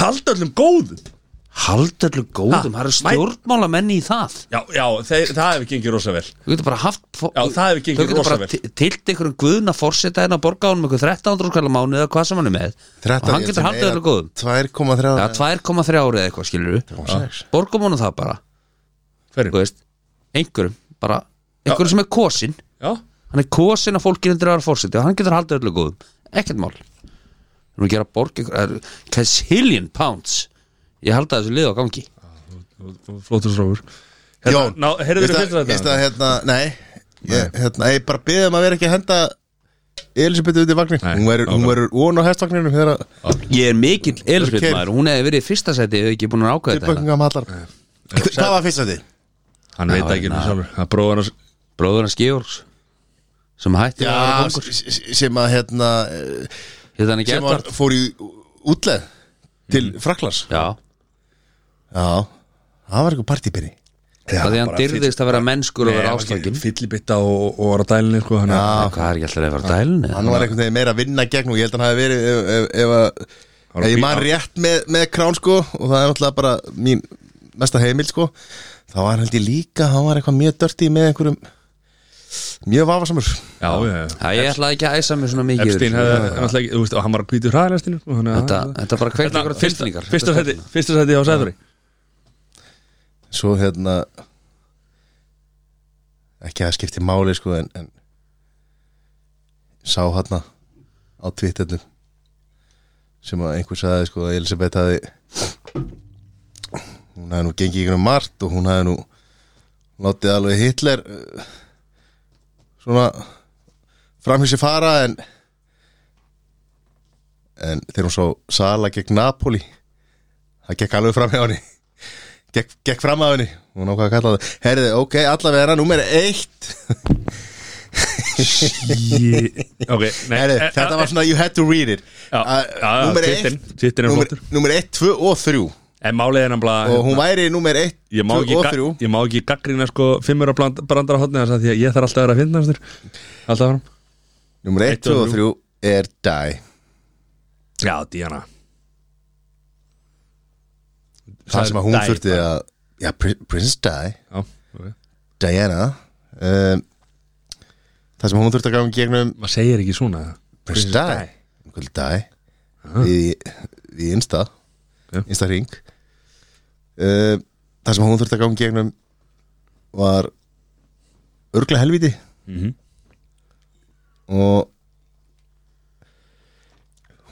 halda öllum góðum Halda allir góðum, Ha, það eru mæ- stjórnmálamenn í það já, já þeir, það hefur gengið rosa vel Þú getur bara haft Já, það hefur gengið Þú getur rosa bara vel. ti- tilt ykkur um guðna fórseta hérna að borga honum ykkur 1300 kallar mánu eða hvað sem hann er með og hann getur haldið allir góðum 2,3 Já, 2,3 árið eða eitthvað skilur við Borgum honum það bara, þú hverjum? veist Einhverjum, bara, einhverjum sem er kosin já, Hann er kosin af fólkinu til að vera fórseti og hann getur haldið allir góðum Ekkert mál Við erum að gera borg ykkur, er, Kazillion pounds Ég halda þessu lið á gangi flótur srófur Jón, hérna, heyrðu þér fyrst veist þetta? að hérna, nei, ég, hérna, ég bara beðið um að vera ekki að henda Elisabeth út í vagnin Nei, Hún verður- hún verður von á hestvagninum þegar að Ég er mikill Ok. elspilmaður, hún hefði verið í fyrsta seti ef ég ekki búin að ákveða þetta tilbökkum að matlar Hvað var fyrst að því? hann veit Já, ekki hérna. sjálfur hann bróðar hans bróður hans Georgs sem hætti að vera Já, kongur s- s- sem að hérna eh, hérna hann ekki sem að Edvard fór í útleð til Mm. Fraklands já, Já, það var eitthvað partíbyrni það því hann bara dyrðist að vera mennskur og vera fyll- ástangin Nei, fyllibitta og, og var á dælinni sko, hann Já. hvað er ekki alltaf að vera á dælunni Hann var einhvern veginn meira að vinna gegn og ég held að hann hafi verið ef, ef, ef, að, Hann var ef ég fín- man rétt með, með krán sko og það er náttúrulega bara mín mesta heimil sko þá var hann held ég líka, hann var eitthvað mjög dörti með einhverjum mjög vafasamur já, já, já já, ég ætlaði ekki að æsa mig svona mikið Epstein yfir hefði þessu. náttúrulega ekki, þú veist, og hann var sko, að kvíti hraðlæstinu þetta, þetta bara kveikt ykkur tilfinningar Hérna, fyrsta Þetta- sæti fyrsta sæti á Sæðuri svo hérna ekki að það skipti máli sko en, en sá hérna á Twitternu sem að einhver sagði sko að Elisabeth hafi hún hafi nú gengið ykkur um margt og hún hafi nú látið alveg Hitler eh, svona framhýsi fara en en þegar hún svo Sala gegn Napoli það gekk alveg fram hjá henni gekk, gekk fram að henni hún ákvað að kalla það herði, ok, allavega er hann nummer eitt ok, nei, herði, eh, þetta eh, var svona you had to read it Já, já, Að, já, númer titillinn- eitt- titillinn er númer- flottur. númer 1, 2 og 3 en málið er og náttúrulega hún væri nummer 1, ég 2 má ekki, og ga- 3 ég má ekki gaggrina sko fimmur að brandara hotni þess að því að ég þarf alltaf að vera að finna hans þér alltaf fram nummer 1, Eitt og 2 og 3 er die já, Diana það sem að hún Die, þurfti að já, Pri- Princess Die, já, ok Diana um, það sem hún þurfti að ganga í gegnum maður segir ekki svona Princess Die Princess Die í, í Insta Já. Insta ring uh, Það sem hún þurfti að ganga í gegnum var örgla helviti Mhm. og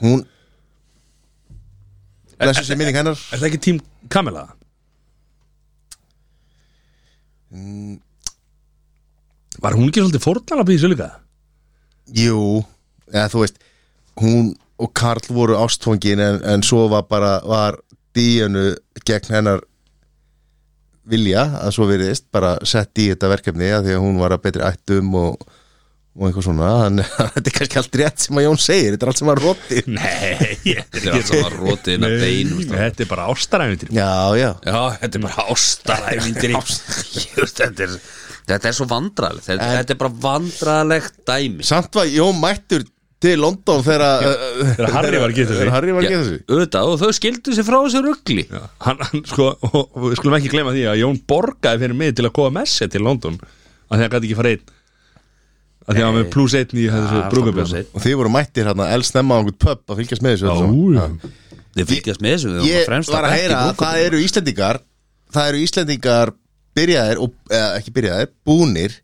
hún blessu sér minning hennar er það ekki tím Kamila? Eh, var hún ekki svolítið fórnala býðis líka? Jú, eða þú veist hún og Karl voru ástfóngin en, en svo var bara var díjanu gegn hennar vilja að svo veriðist bara sett í þetta verkefni að því að hún var að betri ættum og, og eitthvað svona þannig að þetta er kannski allt rétt sem að Jón segir þetta er allt sem að róti nei, ég- þetta er allt saman rotið inn að bein þú Nei, veist það. þetta er bara ástaræfindir Já, já já, þetta er bara ástaræfindir þetta er þetta er svo vandralegt þetta, En- þetta er bara vandralegt dæmi Samt var Jón mættur til London þegar þegar Harry var að gifta sig. Þegar Harry var að Já, geta sig auðvitað, og þau skildu sér frá þessu ruggli hann, hann sko, og, og við skulum ekki glema því að Jón borgaði fyrir mig til að koma með sér til London að því að hann gæti ekki fara einn að því að hann var með pluss einn í þessu brúkabjörn Og þið voru mættir hérna elsnemma á einhvern pub að fylgjast með þessu öllu saman. Já. Þið fylgjast með þessu, við vorum ég á fremsta var að bekk í heyra að brúðkaupinu. það eru Íslendingar það eru Íslendingar byrjaðir, og, eða ekki byrjaðir, búnir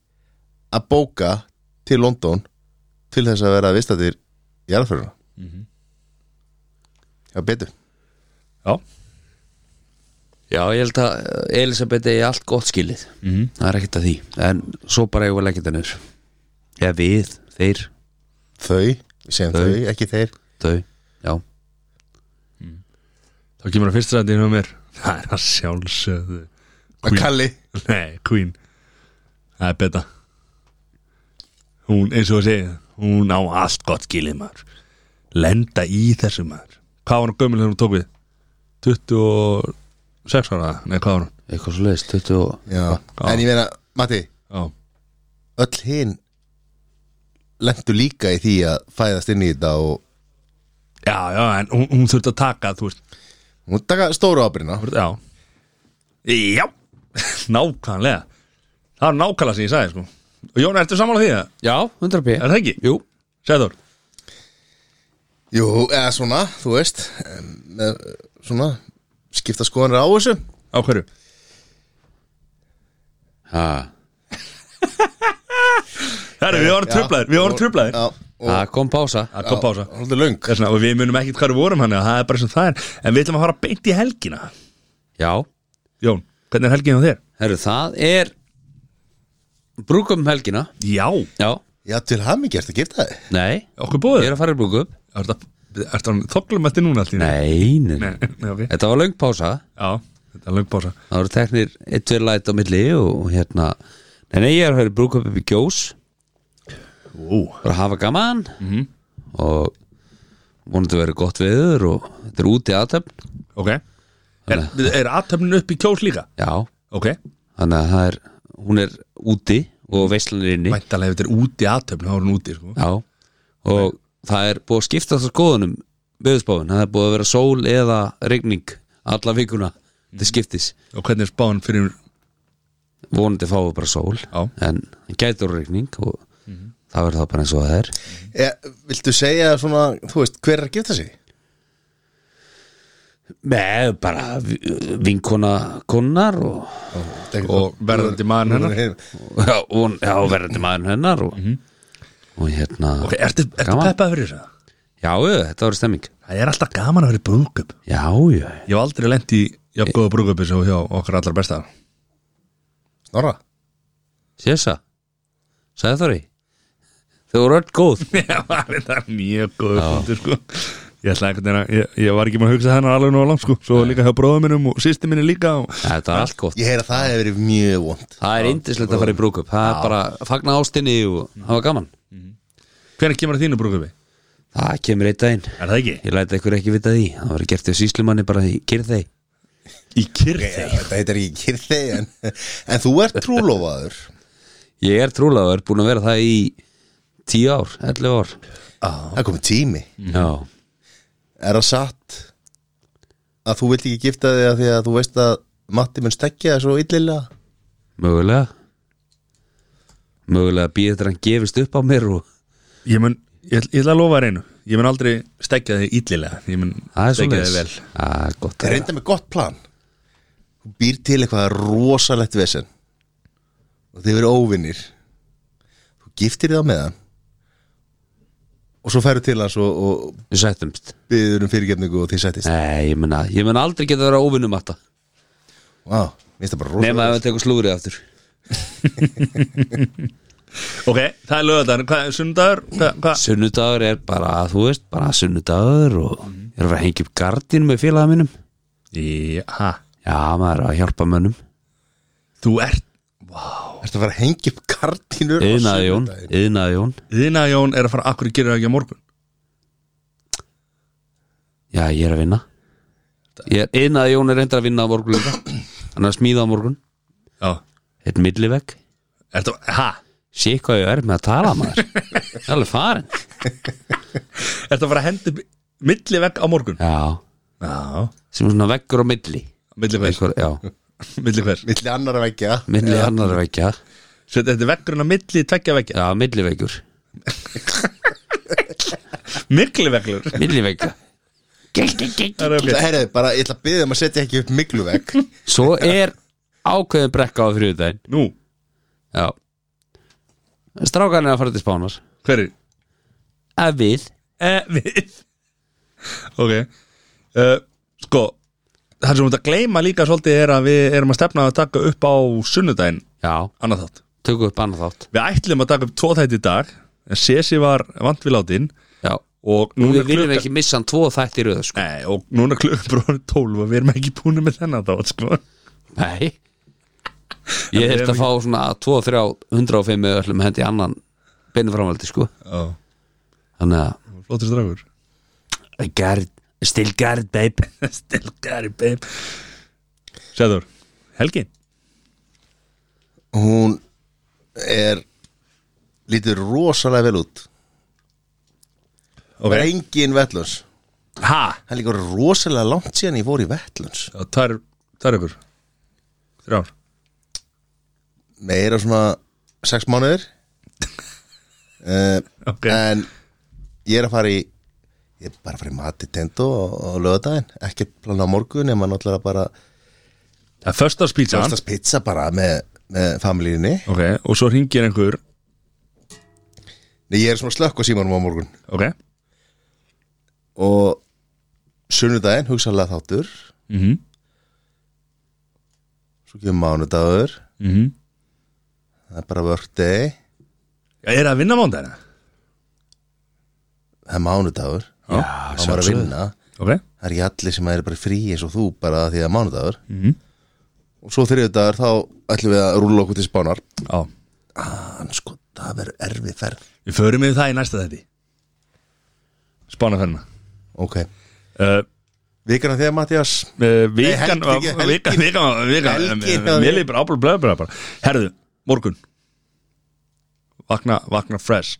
að bóka til London til þess að vera vistatir í jarðföruna Mhm. Já, betur Já, Já, ég held að eh, Elisabeth er allt gott skilið -hmm. Mhm. Það er ekkert að því En svo bara eigum við leggjum þetta niður Já, við, þeir, Þau, við segjum þau, ekki þeir þau Já, þá kemur að fyrsta sæti hjá mér Það er að sjálfsögðu Að Kalli Nei, Queen Það er betta Hún, eins og að segja Hún á allt gott gilið maður Lenda í þessu maður Hvað var hann gömul þegar hún tók við? 27 26 ára, nei hvað var hún eitthvað svo leiðist, 20 og Já. Já. En ég meina, Matti, Já, öll hinn lendu líka í því að fæðast inn í þetta og já, já en hún, hún þurfti að taka, þú veist hún taka stóru ábyrna hún- Já, já nákvæmlega Það var nákvæmlega sem ég sagði, sko Og Jón, ertu sammála því, að- Já, 100 p er það ekki? Jú, Sæður, Jú, eða svona, þú veist em, með, eh, svona, skipta skoðanir á þessu á hverju? ha, Herru, við vorum Já. trublaðir, við vorum trublaðir Já, og það kom pása Það kom pása haldið löng Þessna, og við munum ekkert hvað við vorum hann það er bara sem það er, en við ætlum að fara beint í helgina Já, Jón, hvernig er helgin á þér? herru, það er brúkum helgina Já, Já, Já, til hann ekki eftir að gifta þig nei, okkur ég bóður er að fara í brúkum Ertu að þoklum þetta núna allt í einu? Nei, nei, nei. Nei, nei, ok Þetta var löng pása Já, þetta er löng bása Það voru teknir eitt verið læt á milli og hérna Nei, nei, ég er að höfði brúkup upp í gjós Ó, bara að hafa gaman -hmm. og vonandi verið gott veður og þetta er úti aðtöfn ok Er, er aðtöfnin upp í kjós líka? Já, Ok þannig að það er hún er úti og veislan er inni Væntalega ef þetta er úti aðtöfn, þá er hún úti sko. Já, og það er búið að skipta það skoðunum veðurspáin, það er búið að vera sól eða regning alla vikuna til skiptis, Og hvernig er spáin fyrir vonandi fáum við bara sól Já. en gætur regning og það verður það bara eins og það er e, Viltu segja svona, þú veist, hver er að gifta sig? Nei, bara vi- vinkona konnar og, Og verðandi maðurinn hennar? já, og já, verðandi maður hennar og, og hérna Ok, ertu, ertu Gaman. peppað fyrir þess að? Já, já, þetta var stemming Það er alltaf gaman að vera í brúðkaup Já, já, Ég hef aldrei lent í jafn góða brúðkaupi sem hjá okkar allar besta Snorra sésa Sæði Þóri Þau voru öll góð Ég var þetta mjög góða fundur sko Ég ætla ekkert að, ég, ég var ekki maður að hugsa hennar alveg nóg langt sko Svo líka hjá bróðum minnum og sýstir minni líka og... ja, Þetta var allt gott Ég heyra að það hefur verið mjög vond Það er indislegt að fara í brúkup Það er bara að fagna ástinni og það var gaman Hvernig kemur að þínu brúðkaupi? Það kemur eitt daginn Er það ekki? Ég læti ykkur ekki vita því Það var gert í síslumanni bara í kyrþei Í kyrði Þetta heitir ekki kyrði en, en þú ert trúlofaður Ég er trúlega er búin að vera það í 10 ár, 11 ár Það er komið tími Já, Er það satt að þú vilt ekki gifta þig að því að þú veist að Matti mun stekja það svo illilega? mögulega Mögulega býð þetta hann gefist upp á mér og Ég mun, ég, ætl- ég ætla að lofa þér einu Ég mun aldrei stekja þig illilega Ég mun Það er svo stekja þig vel Það er gott Það er að reynda með gott plan Þú býr til eitthvað rosalegt vesen og þið verið óvinnir Þú giftir þig á meðan og svo færðu til hans og, og Við sættumst byður um fyrirgefningu og þið sættist Nei, ég menna, ég menna aldrei geta að vera óvinnum að það Vá, minnst það bara Nefn að rosalegt við tekur slúrið aftur Ok, það er lögðar, hvað er sundagur? Hvað, hvað? Sunnudagur er bara, þú veist, bara sunnudagur og ég er að vera að hengja upp gardinu með félaga mínum Í, ha, Já, maður er að hjálpa mönnum þú ert Ertu að fara að hengja upp gardínur á Yðnaði Jón, sunnudaginn? yðnaði Jón Þína Jón er að fara, akkur gerir það ekki á morgun Já, ég er að vinna Ég er yðnaði Jón er reyndar að vinna á morgun líka Hann er að smíða á morgun Já, Eitt millivegg ertu, ha Sé hvað ég er með að tala maður Það er alveg farin Ertu að fara að hendi milli vegg á morgun? Já, Já, sem svona veggur á milli milli hvers, Einhver, Já, milli hvers Milli annar að vekja milli annar veggja Svo þetta er veggurinn á milli tveggja veggja Já, milliveggur Mikli vegglur Millivegga Það er ok Herðu, bara ég ætla að byggja um að setja ekki upp mikluvegg Svo er ákveðin brekka á þriðudaginn Nú, Já Strákan er að fara til spánar hver er? Ef við Eh, við Ok uh, Sko Það sem við ert að gleyma líka svolítið er að við erum að stefna að taka upp á sunnudaginn Já, annað þátt tökum upp annað þátt Við ætlum að taka upp tvo þætti í dag en Sesi var vant við látin Já og núna er Við viljum klukkan ekki missa hann tvo þætti í röðu sko Nei, og núna er klukkan bróðin 12 og við erum ekki búin með þennan þátt sko. Nei En Ég við þurft erum að fá svona 2, 3, 105 eða öllum hendi annan beinu framhaldi sko oh. Þannig að Flóttur strafur I got it, still got it babe Stilgari, babe Sæður, Helgi Hún er Lítur rosalega vel út Það er okay. engin vettlunds Ha, Það er líka orðið rosalega langt síðan ég fór í vettlunds Já, tvær, tvær ykkur Þrjár Meira svona sex mánuðir uh, Ok. En ég er að fara í Ég er bara að fara í mati tendo á lögadaginn Ekkert plana á morgun Ef maður náttúrulega bara Það er föstaspítsan Fyrstast pizza bara með, með familíinni Ok, og svo ringir einhver Nei, ég er svona slökk á símanum á morgun Ok, og sunnudaginn hugsalega þáttur mhm, svo kemur mánudagur mhm það er bara workday Já, er það að vinna mándagina? það er mánudagur Já, það er bara að vinna Ok, það er ekki allir sem er bara frí eins og þú bara af því að mánudagur mhm, og svo þriðudagur þá ætlum við að rúla okkur til spánar já hann sko, það verður erfið ferð Við förum yfir það í næsta þetti Spánaferna ok, uh, vikana þegar Mattias uh, Vikan Nei, helgi, ekki helgi. Vikan, vikan, vikan Helgi, eh, Mér lífur ábúr blöð bara bara. Herðu, morgun Vakna, vakna fresh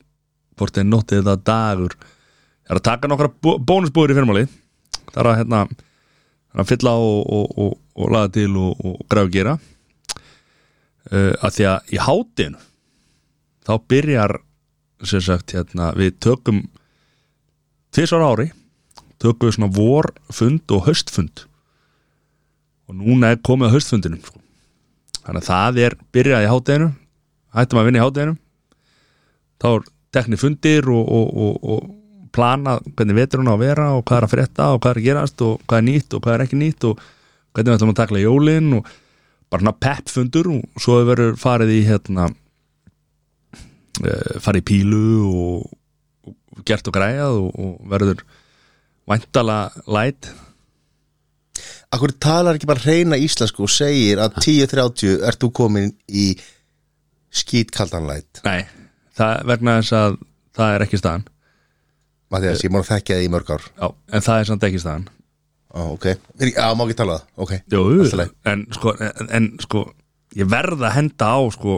Hvort er nóttið þetta dagur Það er að taka nokkra bó- bónusbúður í fyrmáli Það er að hérna Það er að fylla á og, og, og, og laga til og, og græðu gera uh, að því að í hátinu þá byrjar sem sagt hérna við tökum tvisar ári tökum við svona vorfund og haustfund og núna er komið að haustfundinum sko. þannig að það er byrjað í hátæðinu hættum að vinna í hátæðinu þá er teknir fundir og, og, og, og plana hvernig vetur hún á að vera og hvað er að frétta og hvað er að gerast og hvað er nýtt og hvað er ekki nýtt og hvernig við ætlum að takla jólin og bara svona peppfundur og svo verður farið í hérna eh, farið í pílu og, og gert og græjað og, og verður væntala læt akkur talar ekki bara hreina íslensku og segir að 10.30 ert þú komin í skítkaldanlæt Nei, það vegna þess að það er ekki staðan Mattias, ég má að þekkja þið í mörg ár Já, en það er samt ekki staðan Á, ok. Já, má ekki tala um það, ok. Jú, Allt í lagi. en sko, en, en sko ég verð að henda á sko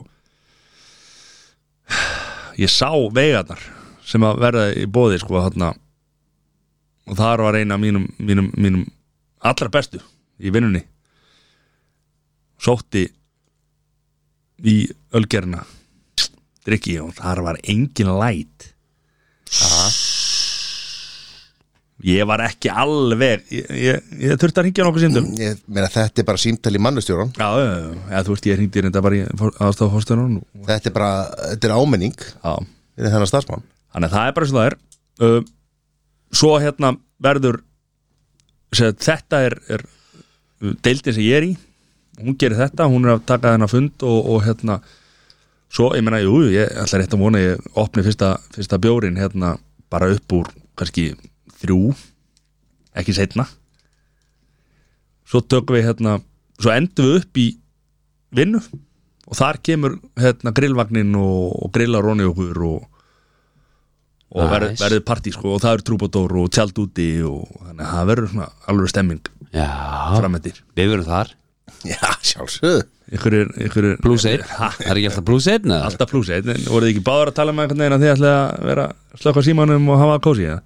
ég sá vegarnar sem að verða í bóði sko þarna og þar var eina af mínum, mínum, mínum allra bestu í vinnunni sótti í ölgerina drikki og þar var engin læt ég var ekki alveg ég, ég, ég þurfti að hringja nokkuð síndum Ég meina, þetta er bara símtali mannustjóran. Já, já, já, já, þú veist, ég hringdi reynda bara í aðstofhóstunum Þetta er bara, þetta er ámenning Já, fyrir þennan starfsmann. þannig að það er bara sem það er uh, Svo hérna verður sem, sagt, þetta er, er uh, deildin sem ég er í hún gerir þetta, hún er að taka þennan fund og, og hérna svo, ég meina, jú, ég ætla rétt að vona að ég opni fyrsta, fyrsta bjórin hérna bara upp úr kannski þrjú ekki setna svo tökum við hérna svo endum við upp í vinnu og þar kemur hérna grillvagnin og, og grillar ronni okkur og, og Nice. verð, verður partí sko og það er trúbadór og tjald úti og þannig að það verður svona alveg stemming Já, framöndir við verum þar Já, sjálfsög. ykkur er, ykkur er Plus 1, Ha, það er ekki alltaf plus 1 eða? alltaf plus 1 en voruð þið ekki báður að tala með einhvern veginn að þið ætlaði að vera slökka símanum og hafa kósi eða?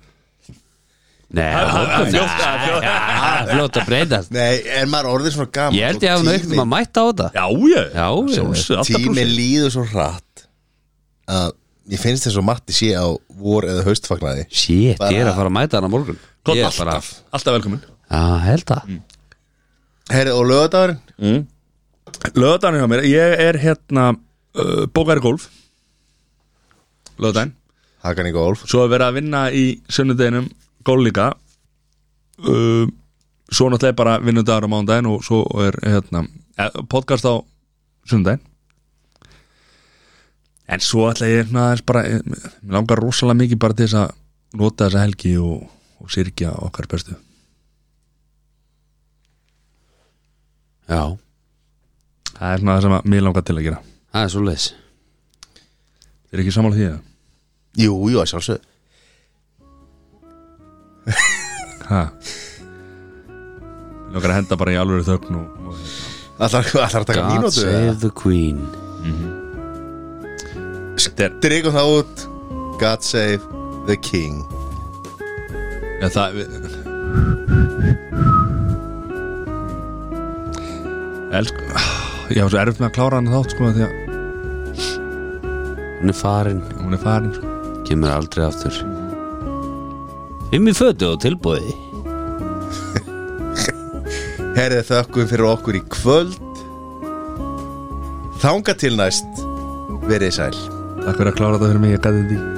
Nei, það fljótt, það er fljótt. er fljótt að breytast Nei, er maður orðið svona gaman? Ég held ég hafði auknum að mæta á þetta Já, ég, Já, ég. sjálfsög, alltaf plus Tími 1 líður svo hratt að ég finnst þess að Matti sé á vor eða haustfagnaði. Shit, ég er Bara- að fara að mæta hann á morgun Gott, Ég er bara, alltaf, alltaf velkomin já, held að Herri, og lögadagurinn? Löðan hjá mér, ég er hérna uh, bókar í golf Löðan Hakan í golf. Svo er verið að vinna í sunnudeginum golf líka uh, Svo náttúrulega bara vinnudagur á mándaginn og svo er hérna, eh, podcast á sunnudaginn En svo ætla ég svona aðeins bara eh, Mér langar rosalega mikið bara til þess að nota þessa helgi og, og syrgja okkar bestu Já, Það er svona það sem að mér langar til að gera það er svoleiðis Þið er ekki sammála því að Jú, jú, að sjálfsög. Ha Mér langar að henda bara í alvöru þögn og, og Allar, allar að taka God mínútu save the queen Þetta er Drygum það út God save the king ja, það, við, Elsku Ég var svo erfitt með að klára hann þátt sko Því að Hún er farin, hún er farin sko. kemur aldrei aftur Fimm í fötu og tilbúði Herðið þökkum fyrir okkur í kvöld Þanga til næst Verið sæl Takk fyrir að klára þetta fyrir mig, ég gæti þetta í